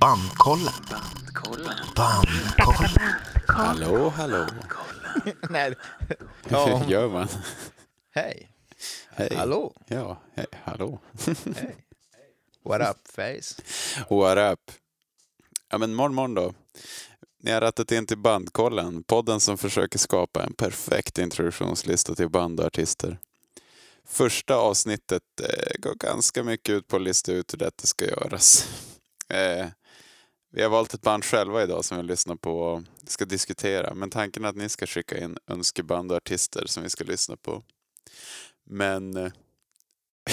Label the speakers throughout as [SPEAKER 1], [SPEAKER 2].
[SPEAKER 1] Bandkollen.
[SPEAKER 2] Bandkollen.
[SPEAKER 1] Bandkollen.
[SPEAKER 3] Hallå, hallå.
[SPEAKER 4] Nej.
[SPEAKER 3] Hur gör man?
[SPEAKER 4] Hej.
[SPEAKER 3] Hej.
[SPEAKER 4] Hallå.
[SPEAKER 3] Ja, hej, hallå.
[SPEAKER 4] What up face?
[SPEAKER 3] What up? Ja, men morgon, morgon då. Ni har rattat in till Bandkollen, podden som försöker skapa en perfekt introduktionslista till band och artister. Första avsnittet eh, går ganska mycket ut på att lista ut hur detta ska göras. Eh, vi har valt ett band själva idag som vi lyssnar på och ska diskutera, men tanken är att ni ska skicka in önskeband och artister som vi ska lyssna på. Men eh,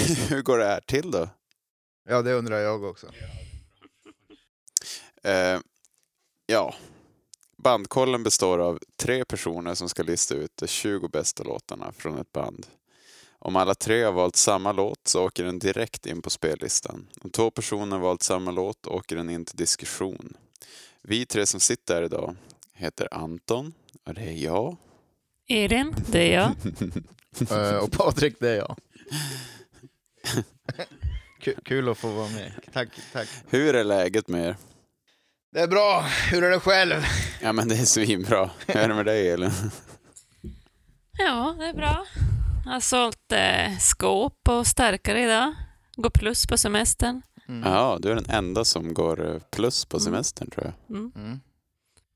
[SPEAKER 3] hur går det här till då?
[SPEAKER 4] Ja, det undrar jag också.
[SPEAKER 3] Eh, ja. Bandkollen består av tre personer som ska lista ut de 20 bästa låtarna från ett band. Om alla tre har valt samma låt så åker den direkt in på spellistan. Om två personer har valt samma låt åker den in till diskussion. Vi tre som sitter här idag heter Anton och det är jag.
[SPEAKER 2] Elin, det är jag.
[SPEAKER 4] Eh, och Patrik, det är jag. Ku- Kul att få vara med. Tack, tack.
[SPEAKER 3] Hur är läget med er?
[SPEAKER 4] Det är bra. Hur är det själv?
[SPEAKER 3] Ja men det är svinbra. Hur är det med dig Elin?
[SPEAKER 2] Ja, det är bra. Jag har sålt eh, skåp och starkare idag. Går plus på semestern.
[SPEAKER 4] Mm.
[SPEAKER 3] Ja, du är den enda som går eh, plus på semestern tror jag.
[SPEAKER 2] Mm.
[SPEAKER 4] Mm.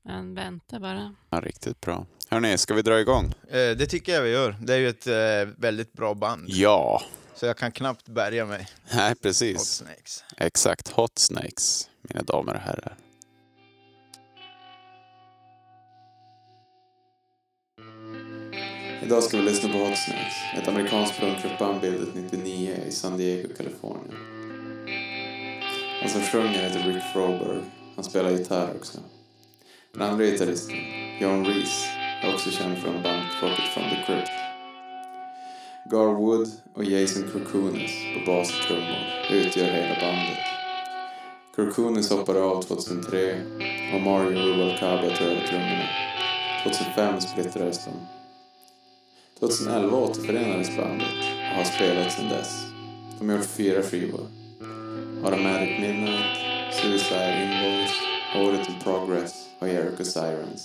[SPEAKER 2] Men vänta bara.
[SPEAKER 3] Ja, riktigt bra. Hörni, ska vi dra igång?
[SPEAKER 4] Eh, det tycker jag vi gör. Det är ju ett eh, väldigt bra band,
[SPEAKER 3] Ja,
[SPEAKER 4] så jag kan knappt bärga mig
[SPEAKER 3] nej
[SPEAKER 4] mot
[SPEAKER 3] precis.
[SPEAKER 4] Snakes.
[SPEAKER 3] Exakt, Hot Snakes, mina damer och herrar. Idag ska vi lyssna på Hot Snakes, ett amerikanskt punkrockband bildat 99 i San Diego, Kalifornien. Han som sjunger heter Rick Froberg, han spelar gitarr också. Den andra gitarristen, John Reese, är också känd från bandet Rocket from the Crypt. Gar Wood och Jason Kurkunis på bas och trummor utgör hela bandet. Kurkunis hoppade av 2003 och Mario Rubalcaba tog över trummorna. 2005 splittrades de. 2011 återförenades bandet och har spelat sedan dess. De har gjort fyra skivor. Automatic Midnight, Suicide Invoice, Audit in Progress och Erica Sirens.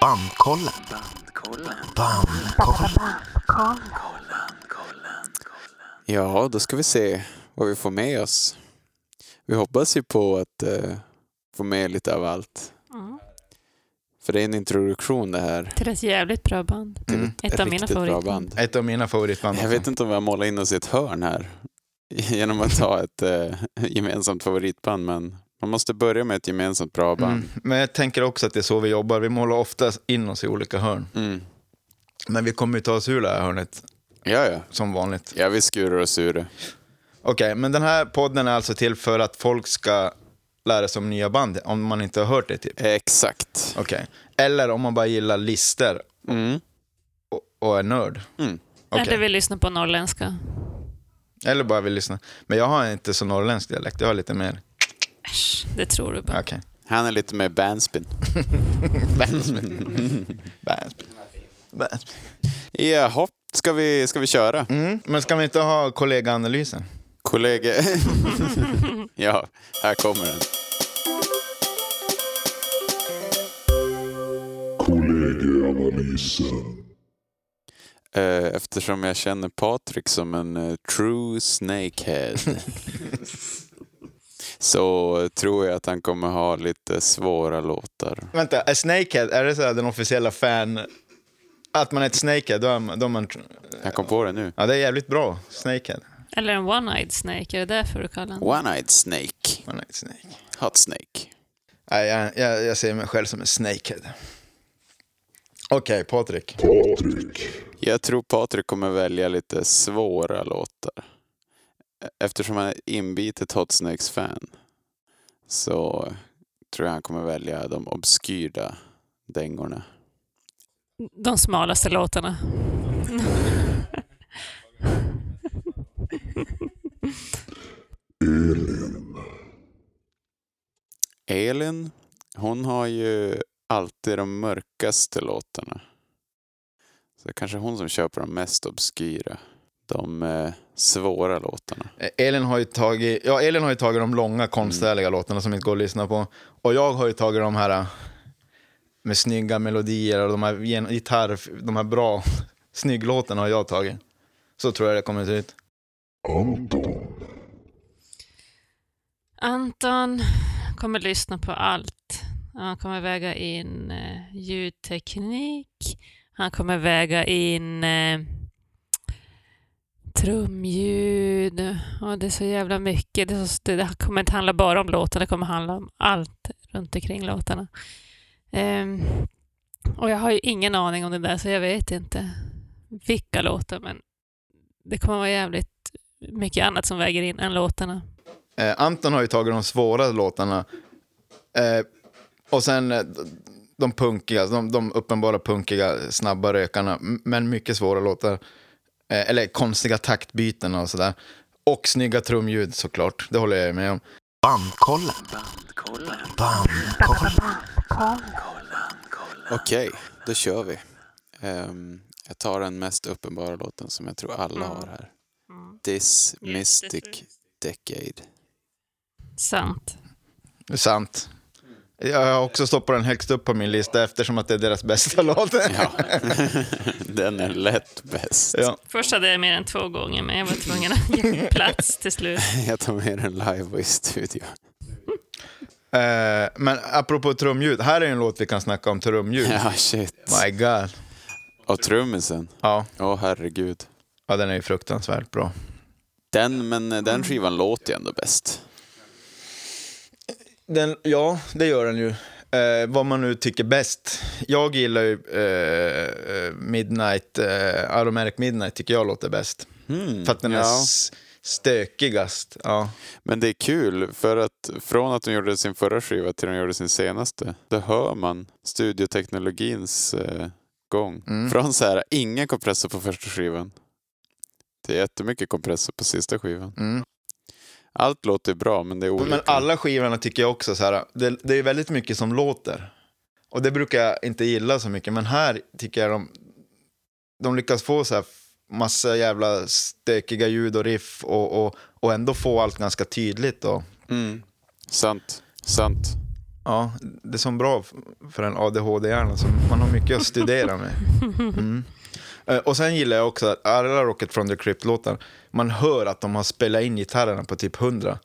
[SPEAKER 1] Bandkollen.
[SPEAKER 2] Bandkollen.
[SPEAKER 1] Bandkollen.
[SPEAKER 3] Ja, då ska vi se vad vi får med oss. Vi hoppas ju på att eh, få med lite av allt.
[SPEAKER 2] Mm.
[SPEAKER 3] För det är en introduktion det här
[SPEAKER 2] Till ett jävligt bra band.
[SPEAKER 3] till
[SPEAKER 4] Mm.
[SPEAKER 3] ett,
[SPEAKER 2] Ett av mina
[SPEAKER 3] riktigt bra
[SPEAKER 2] favoriter.
[SPEAKER 3] band.
[SPEAKER 4] Ett av mina favoritband.
[SPEAKER 3] Jag vet inte om vi har målat in oss i ett hörn här genom att ta ett eh, gemensamt favoritband, men man måste börja med ett gemensamt bra band.
[SPEAKER 4] Mm. Men jag tänker också att det är så vi jobbar. Vi målar ofta in oss i olika hörn.
[SPEAKER 3] Mm.
[SPEAKER 4] Men vi kommer ju ta oss ur det här hörnet,
[SPEAKER 3] Ja, ja.
[SPEAKER 4] som vanligt.
[SPEAKER 3] Ja, vi skurar oss ur det.
[SPEAKER 4] Okej, men den här podden är alltså till för att folk ska lära sig om nya band, om man inte har hört det typ.
[SPEAKER 3] Exakt.
[SPEAKER 4] Okej. Eller om man bara gillar lister
[SPEAKER 3] Mm.
[SPEAKER 4] och, och är nörd.
[SPEAKER 3] Mm.
[SPEAKER 4] Okej.
[SPEAKER 2] Eller vill lyssna på norrländska.
[SPEAKER 4] Eller bara vill lyssna. Men jag har inte så norrländsk dialekt, jag har lite mer.
[SPEAKER 2] Äsch, det tror du bara.
[SPEAKER 4] Okej.
[SPEAKER 3] Han är lite mer bandspin.
[SPEAKER 4] Väsby. Väsby.
[SPEAKER 3] Jaha, ska vi, ska vi köra?
[SPEAKER 4] Mm. Men ska vi inte ha kollegaanalysen?
[SPEAKER 3] Kollega... ja, här kommer den.
[SPEAKER 5] Kollegieanalysen.
[SPEAKER 3] Eh, Eftersom jag känner Patrik som en eh, true snakehead så tror jag att han kommer ha lite svåra låtar.
[SPEAKER 4] Vänta, är Snakehead, är det så här den officiella fan... Att man är ett Snakehead, då är man... Då är man
[SPEAKER 3] Jag kom på det nu.
[SPEAKER 4] ja, det är jävligt bra. Snakehead.
[SPEAKER 2] Eller en one-eyed snake, är det därför du kallar den?
[SPEAKER 3] One-Eyed Snake.
[SPEAKER 4] Man är ett snake.
[SPEAKER 3] Hot Snake.
[SPEAKER 4] Nej, jag, jag, jag ser mig själv som en snakehead. Okej, Patrik.
[SPEAKER 5] Patrik.
[SPEAKER 3] Jag tror Patrik kommer välja lite svåra låtar. Eftersom han är ett inbitet Hot Snakes-fan så tror jag han kommer välja de obskyra dängorna.
[SPEAKER 2] De smalaste låtarna.
[SPEAKER 5] Elin.
[SPEAKER 3] Elin, hon har ju alltid de mörkaste låtarna. Så det kanske är hon som köper de mest obskyra. de eh, svåra låtarna.
[SPEAKER 4] Eh, Elin har ju tagit, ja, Elin har ju tagit de långa konstnärliga låtarna som inte går att lyssna på. Och jag har ju tagit de här eh, med snygga melodier och de här gen- gitarr, de här bra snygglåtarna har jag tagit. Så tror jag det kommer se ut.
[SPEAKER 2] Anton kommer lyssna på allt. Han kommer väga in eh, ljudteknik. Han kommer väga in eh, trumljud. Och det är så jävla mycket. Det, är så, det, det kommer inte handla bara om låtarna, det kommer handla om allt runt omkring låtarna. Ehm, och jag har ju ingen aning om det där, så jag vet inte vilka låtar, men det kommer vara jävligt mycket annat som väger in än låtarna.
[SPEAKER 4] Eh, Anton har ju tagit de svåra låtarna. Eh, och sen eh, de punkiga, de, de uppenbara punkiga, snabba rökarna. m- Men mycket svåra låtar. Eh, eller konstiga taktbyten och sådär. Och snygga trumljud såklart, det håller jag ju med om.
[SPEAKER 1] Bandkollen. Bandkollen.
[SPEAKER 3] Okej, då kör vi. Ehm, jag tar den mest uppenbara låten som jag tror alla har här. This Mystic Decade.
[SPEAKER 2] Sant.
[SPEAKER 4] Det är sant. Jag har också stoppat den högst upp på min lista eftersom att det är deras bästa låt.
[SPEAKER 3] Ja, den är lätt bäst.
[SPEAKER 4] Ja.
[SPEAKER 2] Först hade jag mer än två gånger, men jag var tvungen att ge plats till slut.
[SPEAKER 3] Jag tar med den live och i studio.
[SPEAKER 4] Eh, men apropå trumljud, här är ju en låt vi kan snacka om trumljud.
[SPEAKER 3] Ja, shit.
[SPEAKER 4] My God.
[SPEAKER 3] Och trummisen.
[SPEAKER 4] Ja,
[SPEAKER 3] Åh, herregud.
[SPEAKER 4] ja, den är ju fruktansvärt bra.
[SPEAKER 3] Den, men eh, den skivan låter ju ändå bäst.
[SPEAKER 4] Den, ja, det gör den ju. Eh, vad man nu tycker bäst. Jag gillar ju eh, Midnight, eh, Aromatic Midnight tycker jag låter bäst.
[SPEAKER 3] Mm,
[SPEAKER 4] För att den är
[SPEAKER 3] ja.
[SPEAKER 4] s- stökigast. Ja.
[SPEAKER 3] Men det är kul, för att från att de gjorde sin förra skiva till de gjorde sin senaste, då hör man studioteknologins eh, gång.
[SPEAKER 4] Mm.
[SPEAKER 3] Från så här, ingen kompressor på första skivan, till jättemycket kompressor på sista skivan.
[SPEAKER 4] Mm.
[SPEAKER 3] Allt låter bra, men det är olika.
[SPEAKER 4] Men alla skivorna tycker jag också så här, det, det är väldigt mycket som låter. Och det brukar jag inte gilla så mycket, men här tycker jag de, de lyckas få så här massa jävla stökiga ljud och riff och, och, och ändå få allt ganska tydligt. Och,
[SPEAKER 3] Mm. Sant, sant.
[SPEAKER 4] ja, det är som bra f- för en ADHD-hjärna, så man har mycket att studera med. Mm. Eh, Och sen gillar jag också att alla Rocket from the Crypt-låtar, man hör att de har spelat in gitarrerna på typ 100.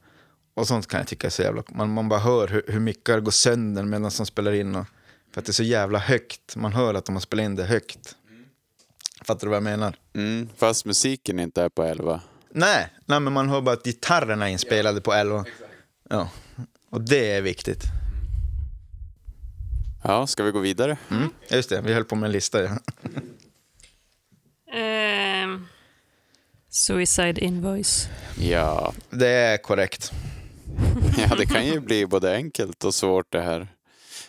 [SPEAKER 4] Och sånt kan jag tycka är så jävla... Man, man bara hör hur, hur mickar går sönder medan de spelar in. Och, för att det är så jävla högt. Man hör att de har spelat in det högt. Fattar du vad jag menar?
[SPEAKER 3] Mm. Fast musiken inte är på 11.
[SPEAKER 4] Nej, nej men man hör bara att gitarrerna är inspelade på 11. Ja. Och det är viktigt.
[SPEAKER 3] Ja, ska vi gå vidare?
[SPEAKER 4] Mm. Just det, vi höll på med en lista. Ja.
[SPEAKER 2] Ehm, suicide Invoice.
[SPEAKER 3] Ja.
[SPEAKER 4] Det är korrekt.
[SPEAKER 3] ja, det kan ju bli både enkelt och svårt det här.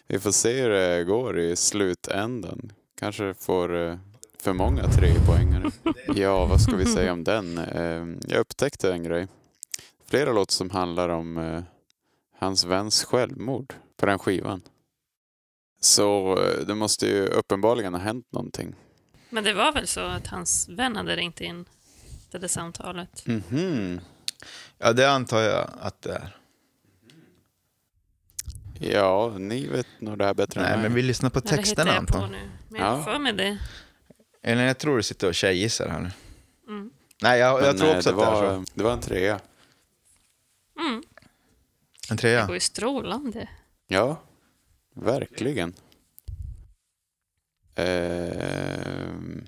[SPEAKER 3] Vi får se hur det går i slutändan. Kanske får eh, för många trepoängare. Ja, vad ska vi säga om den? Eh, Jag upptäckte en grej. Flera låtar som handlar om eh, hans väns självmord på den skivan. Så eh, det måste ju uppenbarligen ha hänt någonting.
[SPEAKER 2] Men det var väl så att hans vän hade ringt in det där samtalet?
[SPEAKER 3] Mhm.
[SPEAKER 4] Ja, det antar jag att det är.
[SPEAKER 3] Ja, ni vet nog det här bättre
[SPEAKER 4] Nej,
[SPEAKER 3] än mig.
[SPEAKER 4] men vi lyssnar på
[SPEAKER 2] Eller hittar
[SPEAKER 4] texterna
[SPEAKER 2] jag på
[SPEAKER 4] Anton.
[SPEAKER 2] nu? Men jag
[SPEAKER 3] Ja.
[SPEAKER 2] har för mig det.
[SPEAKER 4] Eller jag tror du sitter och tjejgissar här nu.
[SPEAKER 2] Mm.
[SPEAKER 4] Nej, jag, jag
[SPEAKER 3] Men,
[SPEAKER 4] tror
[SPEAKER 3] eh,
[SPEAKER 4] också
[SPEAKER 3] det
[SPEAKER 4] att det är så.
[SPEAKER 3] var, Det var en trea.
[SPEAKER 2] Mm.
[SPEAKER 4] En
[SPEAKER 2] Det
[SPEAKER 4] trea.
[SPEAKER 2] går ju strålande.
[SPEAKER 3] Ja, verkligen. Ehm.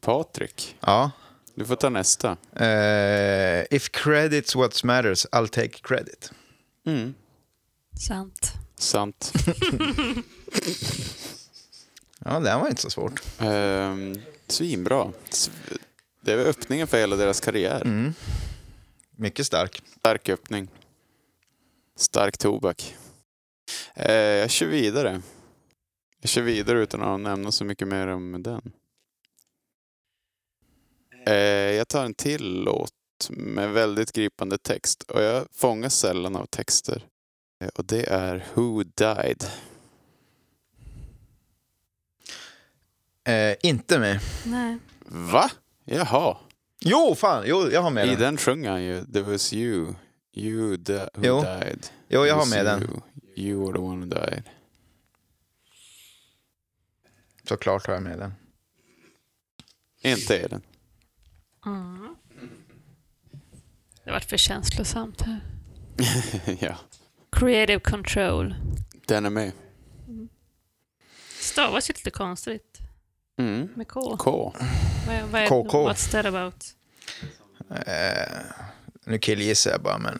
[SPEAKER 3] Patrik,
[SPEAKER 4] Ja.
[SPEAKER 3] du får ta nästa.
[SPEAKER 4] Eh, if credit's what matters, I'll take credit.
[SPEAKER 3] Mm.
[SPEAKER 2] Sant.
[SPEAKER 3] Sant.
[SPEAKER 4] Ja, det här var inte så svårt.
[SPEAKER 3] Ehm, svinbra. Sv- Det är öppningen för hela deras karriär.
[SPEAKER 4] Mm. Mycket stark.
[SPEAKER 3] Stark öppning. Stark tobak. Eh, jag kör vidare. Jag kör vidare utan att nämna så mycket mer om den. Eh, jag tar en till låt med väldigt gripande text och jag fångas sällan av texter. Eh, och det är Who Died?
[SPEAKER 4] Eh, inte med.
[SPEAKER 2] Nej.
[SPEAKER 3] Va? Jaha,
[SPEAKER 4] Jo, fan, jo, jag har med
[SPEAKER 3] i
[SPEAKER 4] den.
[SPEAKER 3] den sjöng han ju There was you, you di- who
[SPEAKER 4] Jo.
[SPEAKER 3] died.
[SPEAKER 4] Jo,
[SPEAKER 3] It
[SPEAKER 4] jag har
[SPEAKER 3] was
[SPEAKER 4] med den.
[SPEAKER 3] you. You were the one who died.
[SPEAKER 4] Såklart har jag med den.
[SPEAKER 3] Inte är den.
[SPEAKER 2] Mm. Det vart för känslosamt här.
[SPEAKER 3] ja,
[SPEAKER 2] Creative control.
[SPEAKER 3] den är med.
[SPEAKER 2] Mm. Stavas ju lite konstigt
[SPEAKER 3] Mm.
[SPEAKER 2] med K.
[SPEAKER 3] K.
[SPEAKER 2] Vad- vad är-
[SPEAKER 4] KK.
[SPEAKER 2] What's that about?
[SPEAKER 4] Eh, nu killgissar jag bara, men...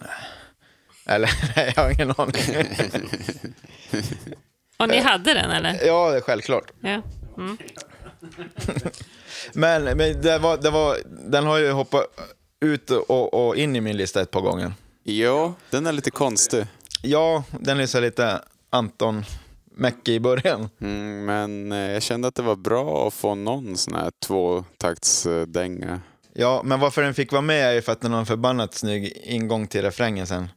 [SPEAKER 4] Eller, nej, jag har ingen aning.
[SPEAKER 2] Och
[SPEAKER 4] Eh.
[SPEAKER 2] ni hade den eller?
[SPEAKER 4] ja, det är självklart.
[SPEAKER 2] Ja. Mm.
[SPEAKER 4] Men, men det var, det var, den har ju hoppat ut och, och in i min lista ett par gånger.
[SPEAKER 3] Ja, den är lite konstig.
[SPEAKER 4] Ja, den är så lite Anton Mäcke i början.
[SPEAKER 3] Mm, men eh, jag kände att det var bra att få någon sån här tvåtaktsdänga.
[SPEAKER 4] Ja, men varför den fick vara med är ju för att den har en förbannat snygg ingång till refrängen sen.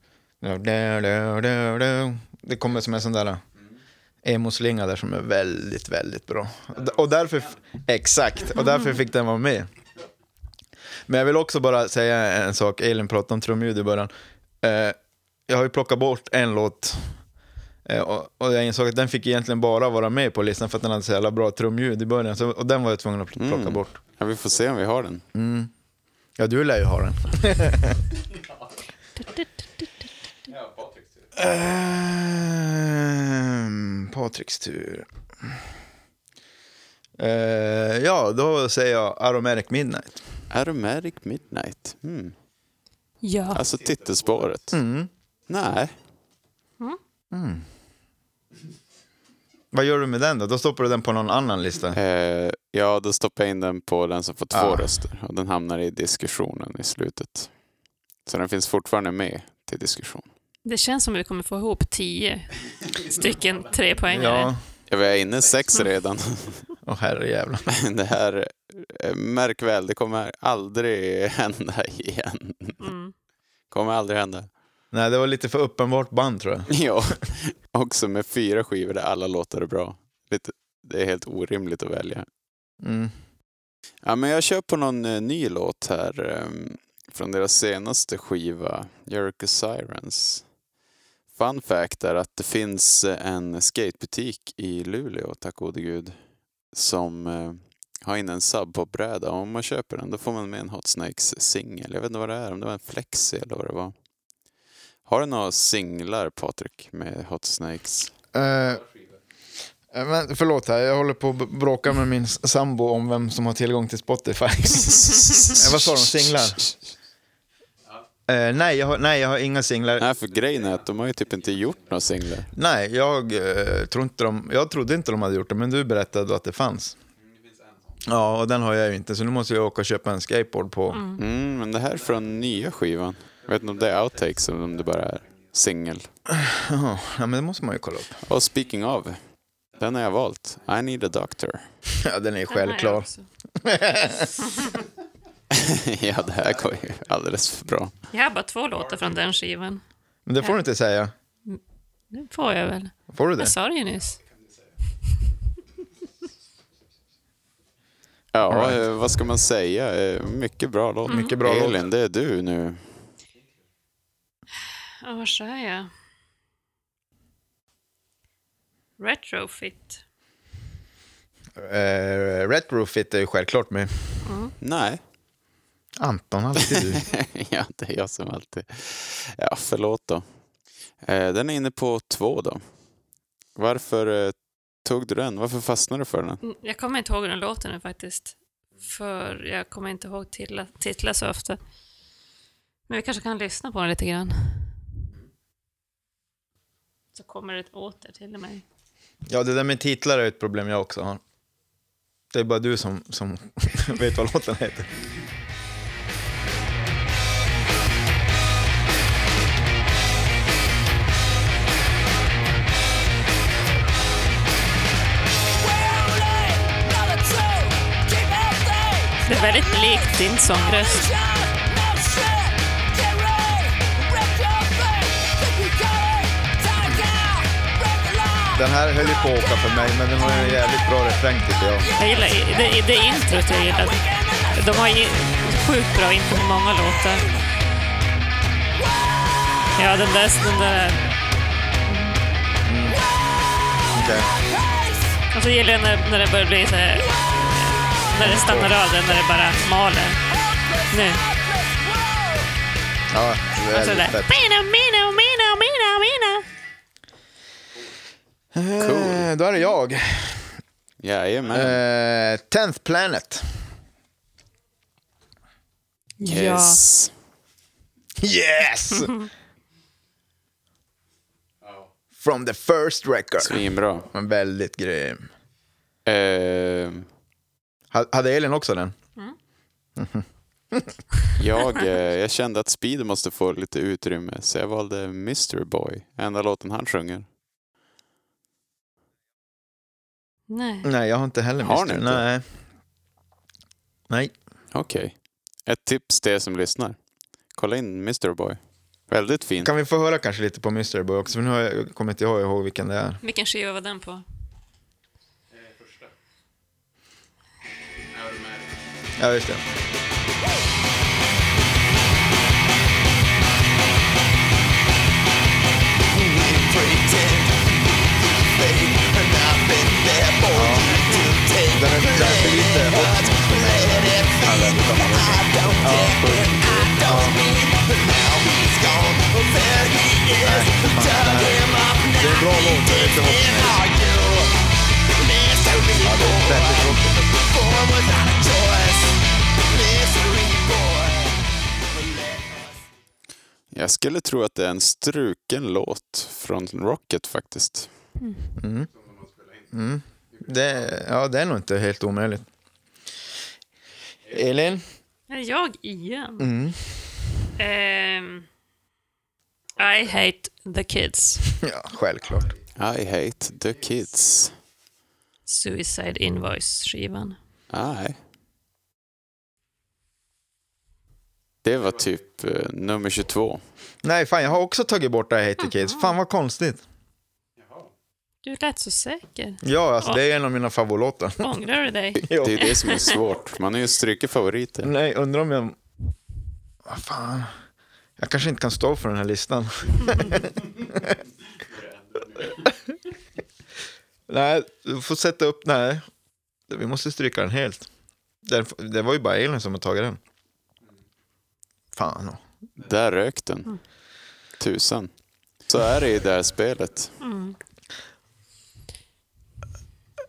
[SPEAKER 4] Det kommer som en sån där eh, emoslinga där som är väldigt, väldigt bra. Och därför, exakt, och därför fick den vara med. Men jag vill också bara säga en sak, Elin pratade om trumljud i början. Eh, Jag har ju plockat bort en låt Eh, Och, och jag insåg att den fick egentligen bara vara med på listan för att den hade så jävla bra trumljud i början. Så, och den var jag tvungen att plocka
[SPEAKER 3] Mm.
[SPEAKER 4] bort.
[SPEAKER 3] Ja, vi får se om vi har den.
[SPEAKER 4] Ja, du lär ju ha den. Eh. Ehm, Patriks tur. Eh, ja, då säger jag Aromatic Midnight.
[SPEAKER 3] Aromatic Midnight. Mm.
[SPEAKER 2] Ja.
[SPEAKER 3] Alltså titelspåret.
[SPEAKER 4] Ah. Mm.
[SPEAKER 3] Nej.
[SPEAKER 4] Vad gör du med den då? Då stoppar du den på någon annan lista.
[SPEAKER 3] Eh, ja, då stoppar jag in den på den som får två
[SPEAKER 4] Ah.
[SPEAKER 3] röster. Och den hamnar i diskussionen i slutet. Så den finns fortfarande med till diskussion.
[SPEAKER 2] Det känns som att vi kommer få ihop tio stycken trepoängare.
[SPEAKER 4] Ja,
[SPEAKER 3] Ja, vi är inne i sex
[SPEAKER 4] Mm.
[SPEAKER 3] redan.
[SPEAKER 4] åh herrejävlar.
[SPEAKER 3] det här, eh, märk väl, det kommer aldrig hända igen.
[SPEAKER 2] Mm.
[SPEAKER 3] Kommer aldrig hända.
[SPEAKER 4] Nej, det var lite för uppenbart band tror jag.
[SPEAKER 3] Ja, också med fyra skivor där alla låtar är bra. Lite, det är helt orimligt att välja.
[SPEAKER 4] Mm.
[SPEAKER 3] Ja, men jag kör på någon eh, ny låt här ehm, från deras senaste skiva, Jericho Sirens. Fun fact är att det finns eh, en skatebutik i Luleå, tack gode gud, som eh, har in en subpopbräda. Om man köper den då får man med en Hot Snakes singel. Jag vet inte vad det är, om det var en flexi eller vad det var. Har du några singlar, Patrik, med Hot Snakes?
[SPEAKER 4] Eh, men förlåt här, jag håller på att b- bråka med min s- sambo om vem som har tillgång till Spotify. Eh, Vad sa de, singlar? Eh, nej, jag har, nej, jag har inga singlar.
[SPEAKER 3] Nej, för grejen är att de har ju typ inte gjort några singlar.
[SPEAKER 4] Nej, jag, eh, tror inte de, jag trodde inte de hade gjort det, men du berättade då att Mm, det fanns. Ja, och den har jag ju inte, så nu måste jag åka och köpa en skateboard på...
[SPEAKER 3] Mm, men det här är från nya skivan. Jag vet inte om det är outtakes eller om det bara är singel.
[SPEAKER 4] Jaha, ja, men det måste man ju kolla upp.
[SPEAKER 3] Och speaking of, den har jag valt. I need a doctor.
[SPEAKER 4] Ja, den är ju
[SPEAKER 2] Den har jag
[SPEAKER 4] självklar.
[SPEAKER 2] också.
[SPEAKER 3] ja, det här går ju alldeles för bra.
[SPEAKER 2] Jag har bara två låtar från den skivan.
[SPEAKER 4] Men det får du inte säga.
[SPEAKER 2] Nu får jag väl.
[SPEAKER 4] Får du det?
[SPEAKER 2] Jag sa det ju nyss.
[SPEAKER 3] Ja,
[SPEAKER 4] All right. Mm.
[SPEAKER 3] eh, vad ska man säga? Eh, Mycket bra låt.
[SPEAKER 4] Mycket bra låt.
[SPEAKER 3] Elin, det är du nu.
[SPEAKER 2] Ja, vad sa jag? Retrofit.
[SPEAKER 4] Eh, Retrofit är ju självklart med.
[SPEAKER 2] Mm.
[SPEAKER 3] Nej.
[SPEAKER 4] Anton, alltid du.
[SPEAKER 3] ja, det är jag som alltid. Ja, förlåt då. Eh, Den är inne på två då. Varför eh, tog du den? Varför fastnade du för den?
[SPEAKER 2] Mm, Jag kommer inte ihåg hur den låter nu faktiskt. För jag kommer inte ihåg titla- titlar så ofta. Men vi kanske kan lyssna på den lite grann. Så kommer det åter till mig.
[SPEAKER 4] Ja, det där med titlar är ett problem jag också har. Det är bara du som, som vet vad låten heter.
[SPEAKER 2] Det är väldigt likt din sångröst.
[SPEAKER 4] Den här höll ju på att åka för mig, men den har ju en jävligt bra refräng tycker jag.
[SPEAKER 2] Jag gillar det, det är introt jag gillar. de har ju sjukt bra info på många låtar. Ja, den där, den där.
[SPEAKER 4] Okej.
[SPEAKER 2] Och så alltså, gillar jag när, när det börjar bli så här, när det stannar av den, när det bara maler. Nu.
[SPEAKER 4] Ja, det
[SPEAKER 2] Och
[SPEAKER 4] är
[SPEAKER 2] så
[SPEAKER 4] lite
[SPEAKER 2] där.
[SPEAKER 4] fett.
[SPEAKER 2] Mina, mina, mina, mina, mina.
[SPEAKER 4] Eh, Då är det jag.
[SPEAKER 3] Jajamän.
[SPEAKER 4] Eh, Tenth Planet. Eh.
[SPEAKER 3] Yes.
[SPEAKER 4] Yes! From the first record.
[SPEAKER 3] Svinbra.
[SPEAKER 4] Men väldigt grym.
[SPEAKER 3] Eh,
[SPEAKER 4] Ha- Hade Elin också den?
[SPEAKER 3] jag, eh, jag kände att Speed måste få lite utrymme så jag valde Mr Boy, enda låten han sjunger.
[SPEAKER 2] Nej.
[SPEAKER 4] Nej, jag har inte heller
[SPEAKER 3] Har
[SPEAKER 4] missat
[SPEAKER 3] ni
[SPEAKER 4] den.
[SPEAKER 3] inte?
[SPEAKER 4] Nej. Nej.
[SPEAKER 3] Okej. Ett tips till er som lyssnar. Kolla in Mr Boy. Väldigt fin.
[SPEAKER 4] Kan vi få höra kanske lite på Mystery Boy också? För nu har jag, kommer inte jag ihåg vilken det är.
[SPEAKER 2] Vilken skiva var den på?
[SPEAKER 4] Ja, just det. Den är, den är för lite hot för mig. Ja, vänta. Ja, sjukt. Ja. Nej, fan, det här- Det är en bra låt, men det är för hot för mig. Ja, det är väldigt hot.
[SPEAKER 3] Jag skulle tro att det är en struken låt från Rocket faktiskt.
[SPEAKER 4] Det, ja, det är nog inte helt omöjligt. Elin?
[SPEAKER 2] Är jag igen? Ehm, I hate the kids.
[SPEAKER 4] Ja, självklart.
[SPEAKER 3] I hate the kids.
[SPEAKER 2] Suicide Invoice-skivan.
[SPEAKER 3] Nej. Det var typ eh, nummer 22.
[SPEAKER 4] Nej, fan, jag har också tagit bort I hate the kids. Fan vad konstigt.
[SPEAKER 2] Du lät så säker.
[SPEAKER 4] Ja, alltså, det är en av mina favoritlåtar.
[SPEAKER 2] Ångrar du dig?
[SPEAKER 4] Jo.
[SPEAKER 3] Det är det som är svårt. Man har ju strukit favoriter.
[SPEAKER 4] Nej, undrar om jag... Vad fan. Jag kanske inte kan stå för den här listan. nej, du får sätta upp... Nej, vi måste stryka den helt. Den, det var ju bara Elin som har tagit den. Fan.
[SPEAKER 3] Där rök den. Tusan. Så är det i det här spelet.
[SPEAKER 2] Mm,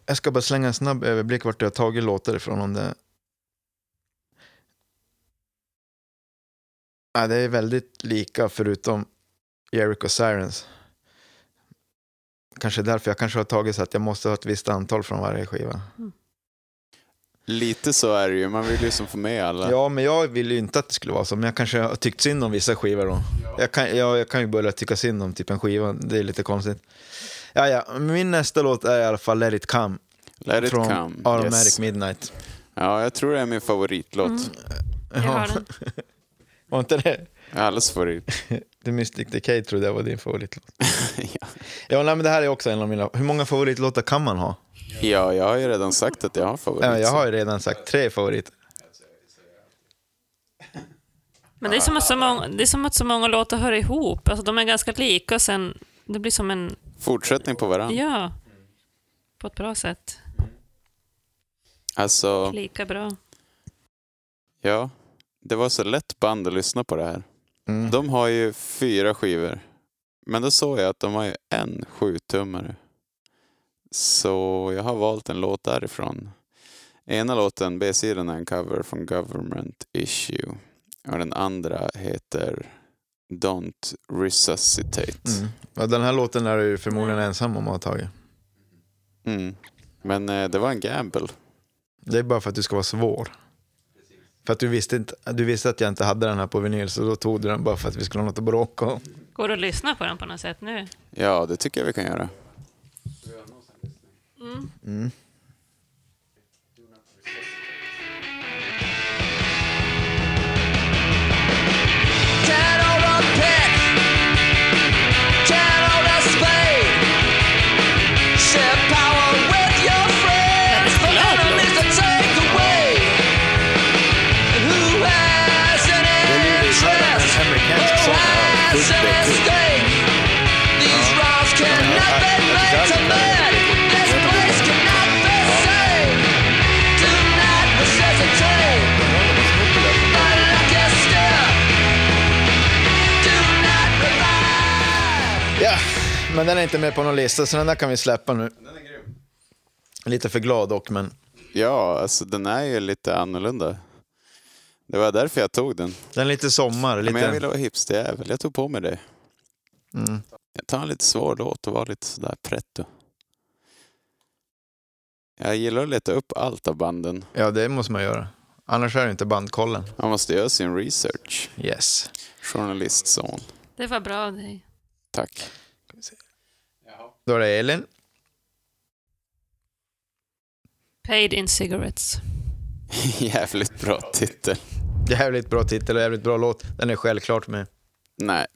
[SPEAKER 4] Jag ska bara slänga en snabb överblick vart jag har tagit låtar ifrån om det... Ja, det är väldigt lika förutom Jericho Sirens. Kanske därför jag kanske har tagit så att jag måste ha ett visst antal från varje skiva.
[SPEAKER 3] Lite så är det ju. Man vill ju som få med alla.
[SPEAKER 4] Ja, men jag vill ju inte att det skulle vara så, men jag kanske har tyckt synd om vissa skivor då. Jag kan, jag, jag kan ju börja tycka synd om typ en skiva, det är lite konstigt. Ja, ja, min nästa låt är i alla fall Let It Come
[SPEAKER 3] Let it
[SPEAKER 4] från
[SPEAKER 3] come.
[SPEAKER 4] Aromatic
[SPEAKER 3] Yes.
[SPEAKER 4] Midnight.
[SPEAKER 3] Ja, jag tror det är min favoritlåt.
[SPEAKER 2] Jag har den.
[SPEAKER 4] Var inte det?
[SPEAKER 3] Allas favorit.
[SPEAKER 4] The Mystic Decay trodde jag var din favoritlåt.
[SPEAKER 3] ja.
[SPEAKER 4] Ja, nej, men det här är också en av mina... Hur många favoritlåtar kan man ha?
[SPEAKER 3] ja, jag har ju redan sagt att jag har favorit.
[SPEAKER 4] Ja, jag har ju redan sagt tre favoriter.
[SPEAKER 2] Men det är, som att så många, det är som att så många låtar hör ihop. Alltså, de är ganska lika och sen det blir som en...
[SPEAKER 3] Fortsättning på varandra.
[SPEAKER 2] Ja. På ett bra sätt.
[SPEAKER 3] Alltså,
[SPEAKER 2] Lika bra.
[SPEAKER 3] ja. Det var så lätt band att lyssna på det här.
[SPEAKER 4] Mm.
[SPEAKER 3] De har ju fyra skivor. Men då såg jag att de har ju en sjutummare. Så jag har valt en låt därifrån. Ena låten, B-sidan, är en cover från Government Issue. Och den andra heter Don't Resuscitate.
[SPEAKER 4] Mm. Ja, den här låten är du ju förmodligen ensam om att ha tagit.
[SPEAKER 3] Mm. Men eh, det var en gamble.
[SPEAKER 4] Det är bara för att du ska vara svår. För att du visste, inte, du visste att jag inte hade den här på vinyl, så då tog du den bara för att vi skulle ha något att bråka om.
[SPEAKER 2] Går det att lyssna på den på något sätt nu?
[SPEAKER 3] Ja, det tycker jag vi kan göra.
[SPEAKER 2] Väldigt glad låt.
[SPEAKER 4] Men den är inte med på någon lista, så den där kan vi släppa nu.
[SPEAKER 3] Den är grym.
[SPEAKER 4] Lite för glad dock, men
[SPEAKER 3] Ja, alltså den är ju lite annorlunda. Det var därför jag tog den.
[SPEAKER 4] den är lite sommar. Lite...
[SPEAKER 3] Men jag ville vara hipsterjävel. Jag tog på mig det.
[SPEAKER 4] mm.
[SPEAKER 3] Jag tar en lite svår låt och var lite sådär pretto. Jag gillar att leta upp allt av banden.
[SPEAKER 4] Ja, det måste man göra. Annars är det inte bandkollen.
[SPEAKER 3] Man måste göra sin research.
[SPEAKER 4] Yes.
[SPEAKER 3] Journalistson.
[SPEAKER 2] Det var bra av dig.
[SPEAKER 3] Tack.
[SPEAKER 4] Då är det Elin.
[SPEAKER 2] Paid in cigarettes.
[SPEAKER 3] Jävligt bra titel.
[SPEAKER 4] Jävligt bra titel och jävligt bra låt. Den är självklart med.
[SPEAKER 3] Nej,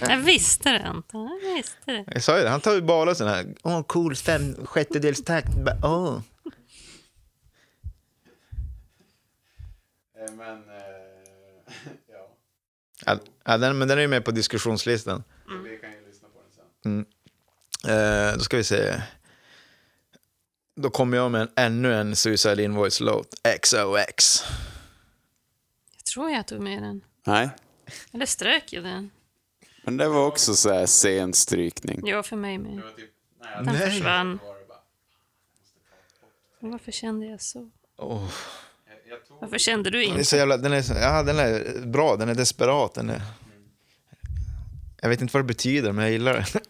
[SPEAKER 2] Jag visste det inte. Jag visste det.
[SPEAKER 4] Jag sa ju det, han tar ju bara sån här, åh cool fem sjättedelstakt, Bara, åh.
[SPEAKER 3] Eh, men... eh, ja,
[SPEAKER 4] Ja, ja, den, men den är ju med på diskussionslistan.
[SPEAKER 3] Mm. vi kan ju lyssna på den sen.
[SPEAKER 4] Eh, då ska vi se. Då kommer jag med en, ännu en Suicide Invoice-låt, XOX.
[SPEAKER 2] Jag tror jag tog med den.
[SPEAKER 3] Nej,
[SPEAKER 2] Eller strök jag den?
[SPEAKER 3] men det var också så här sen strykning.
[SPEAKER 2] Ja, för mig med. Den
[SPEAKER 4] Nej.
[SPEAKER 2] försvann. Och Varför kände jag så?
[SPEAKER 4] Åh,
[SPEAKER 2] Varför kände du
[SPEAKER 4] den är
[SPEAKER 2] inte?
[SPEAKER 4] så jävla, den är, så- ja, den är bra, den är desperat. Den är, jag vet inte vad det betyder, men jag gillar det.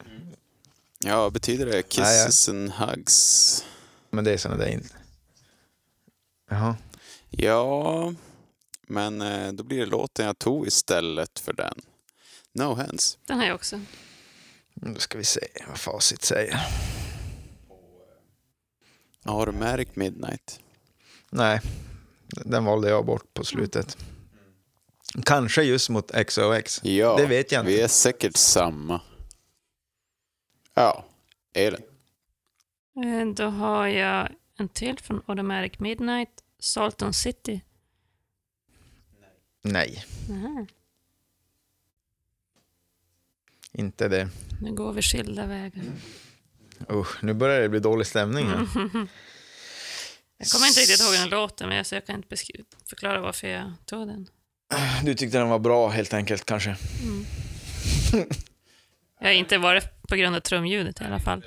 [SPEAKER 3] Ja, betyder det kisses and hugs?
[SPEAKER 4] men det är såna där in... Jaha.
[SPEAKER 3] Ja, men eh, då blir det låten jag tog istället för den. No hands.
[SPEAKER 2] Den har jag också.
[SPEAKER 4] Då ska vi se vad facit säger.
[SPEAKER 3] Har du märkt Midnight?
[SPEAKER 4] Nej, den valde jag bort på slutet. Kanske just mot XOX.
[SPEAKER 3] Ja,
[SPEAKER 4] Det vet jag inte.
[SPEAKER 3] vi är säkert samma. Ja, Elin.
[SPEAKER 2] Eh, Då har jag en till från Automatic Midnight, Salton City.
[SPEAKER 4] Nej,
[SPEAKER 2] Nähä,
[SPEAKER 4] inte det.
[SPEAKER 2] nu går vi skilda vägar.
[SPEAKER 4] Usch, nu börjar det bli dålig stämning här.
[SPEAKER 2] Jag kommer inte riktigt ihåg den låten, men jag- så jag kan inte beskri- förklara varför jag tog den.
[SPEAKER 4] Du tyckte den var bra helt enkelt kanske.
[SPEAKER 2] Jag har inte varit på grund av trumljudet i alla fall.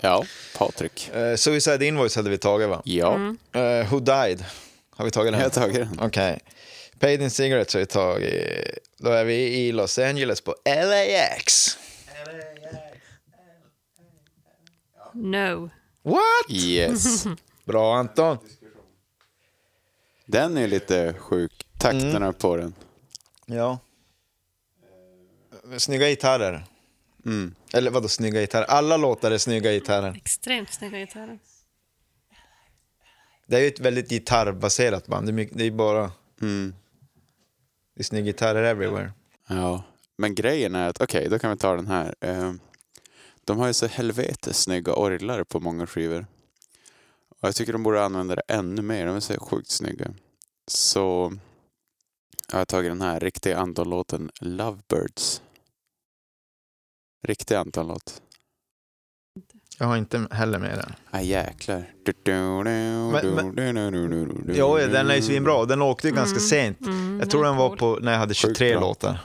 [SPEAKER 3] Ja, Patrik.
[SPEAKER 4] Eh, Suicide Invoice hade vi tagit va?
[SPEAKER 3] Ja,
[SPEAKER 2] Mm.
[SPEAKER 4] Eh, who Died har vi tagit
[SPEAKER 3] jag
[SPEAKER 4] den?
[SPEAKER 3] har
[SPEAKER 4] Okej.
[SPEAKER 3] tagit den.
[SPEAKER 4] Paid in Cigarettes har vi tagit. Då är vi i Los Angeles på LAX.
[SPEAKER 2] No.
[SPEAKER 4] What?
[SPEAKER 3] Yes.
[SPEAKER 4] Bra Anton.
[SPEAKER 3] Den är lite sjuk. Takterna
[SPEAKER 4] Mm.
[SPEAKER 3] på den.
[SPEAKER 4] Ja. Eh, Snygga gitarrer.
[SPEAKER 3] Mm.
[SPEAKER 4] Eller vadå snygga gitarrer? Alla låtar är snygga gitarrer.
[SPEAKER 2] Extremt snygga gitarrer.
[SPEAKER 4] Det är ju ett väldigt gitarrbaserat band. Det är, mycket, det är bara
[SPEAKER 3] Mm.
[SPEAKER 4] det är snygga gitarrer everywhere.
[SPEAKER 3] Ja, men grejen är att okej, då kan vi ta den här. Eh, De har ju så helvetes snygga orglar på många skivor. Och jag tycker de borde använda det ännu mer. De är så sjukt snygga. Så jag har tagit den här riktiga Anton-låten Lovebirds. Riktig Anton-låt.
[SPEAKER 4] Jag har inte heller med den.
[SPEAKER 3] Ah, jäklar. Du, du, du,
[SPEAKER 4] Men- men-
[SPEAKER 3] du, du, du, du, du, du,
[SPEAKER 4] Jo, den är ju
[SPEAKER 3] du.
[SPEAKER 4] svinbra. Den åkte ju ganska
[SPEAKER 2] Mm.
[SPEAKER 4] sent.
[SPEAKER 2] Mm,
[SPEAKER 4] Jag tror
[SPEAKER 2] är
[SPEAKER 4] den var
[SPEAKER 2] cool.
[SPEAKER 4] på när jag hade
[SPEAKER 3] Sjukt
[SPEAKER 4] 23
[SPEAKER 3] bra.
[SPEAKER 4] låtar.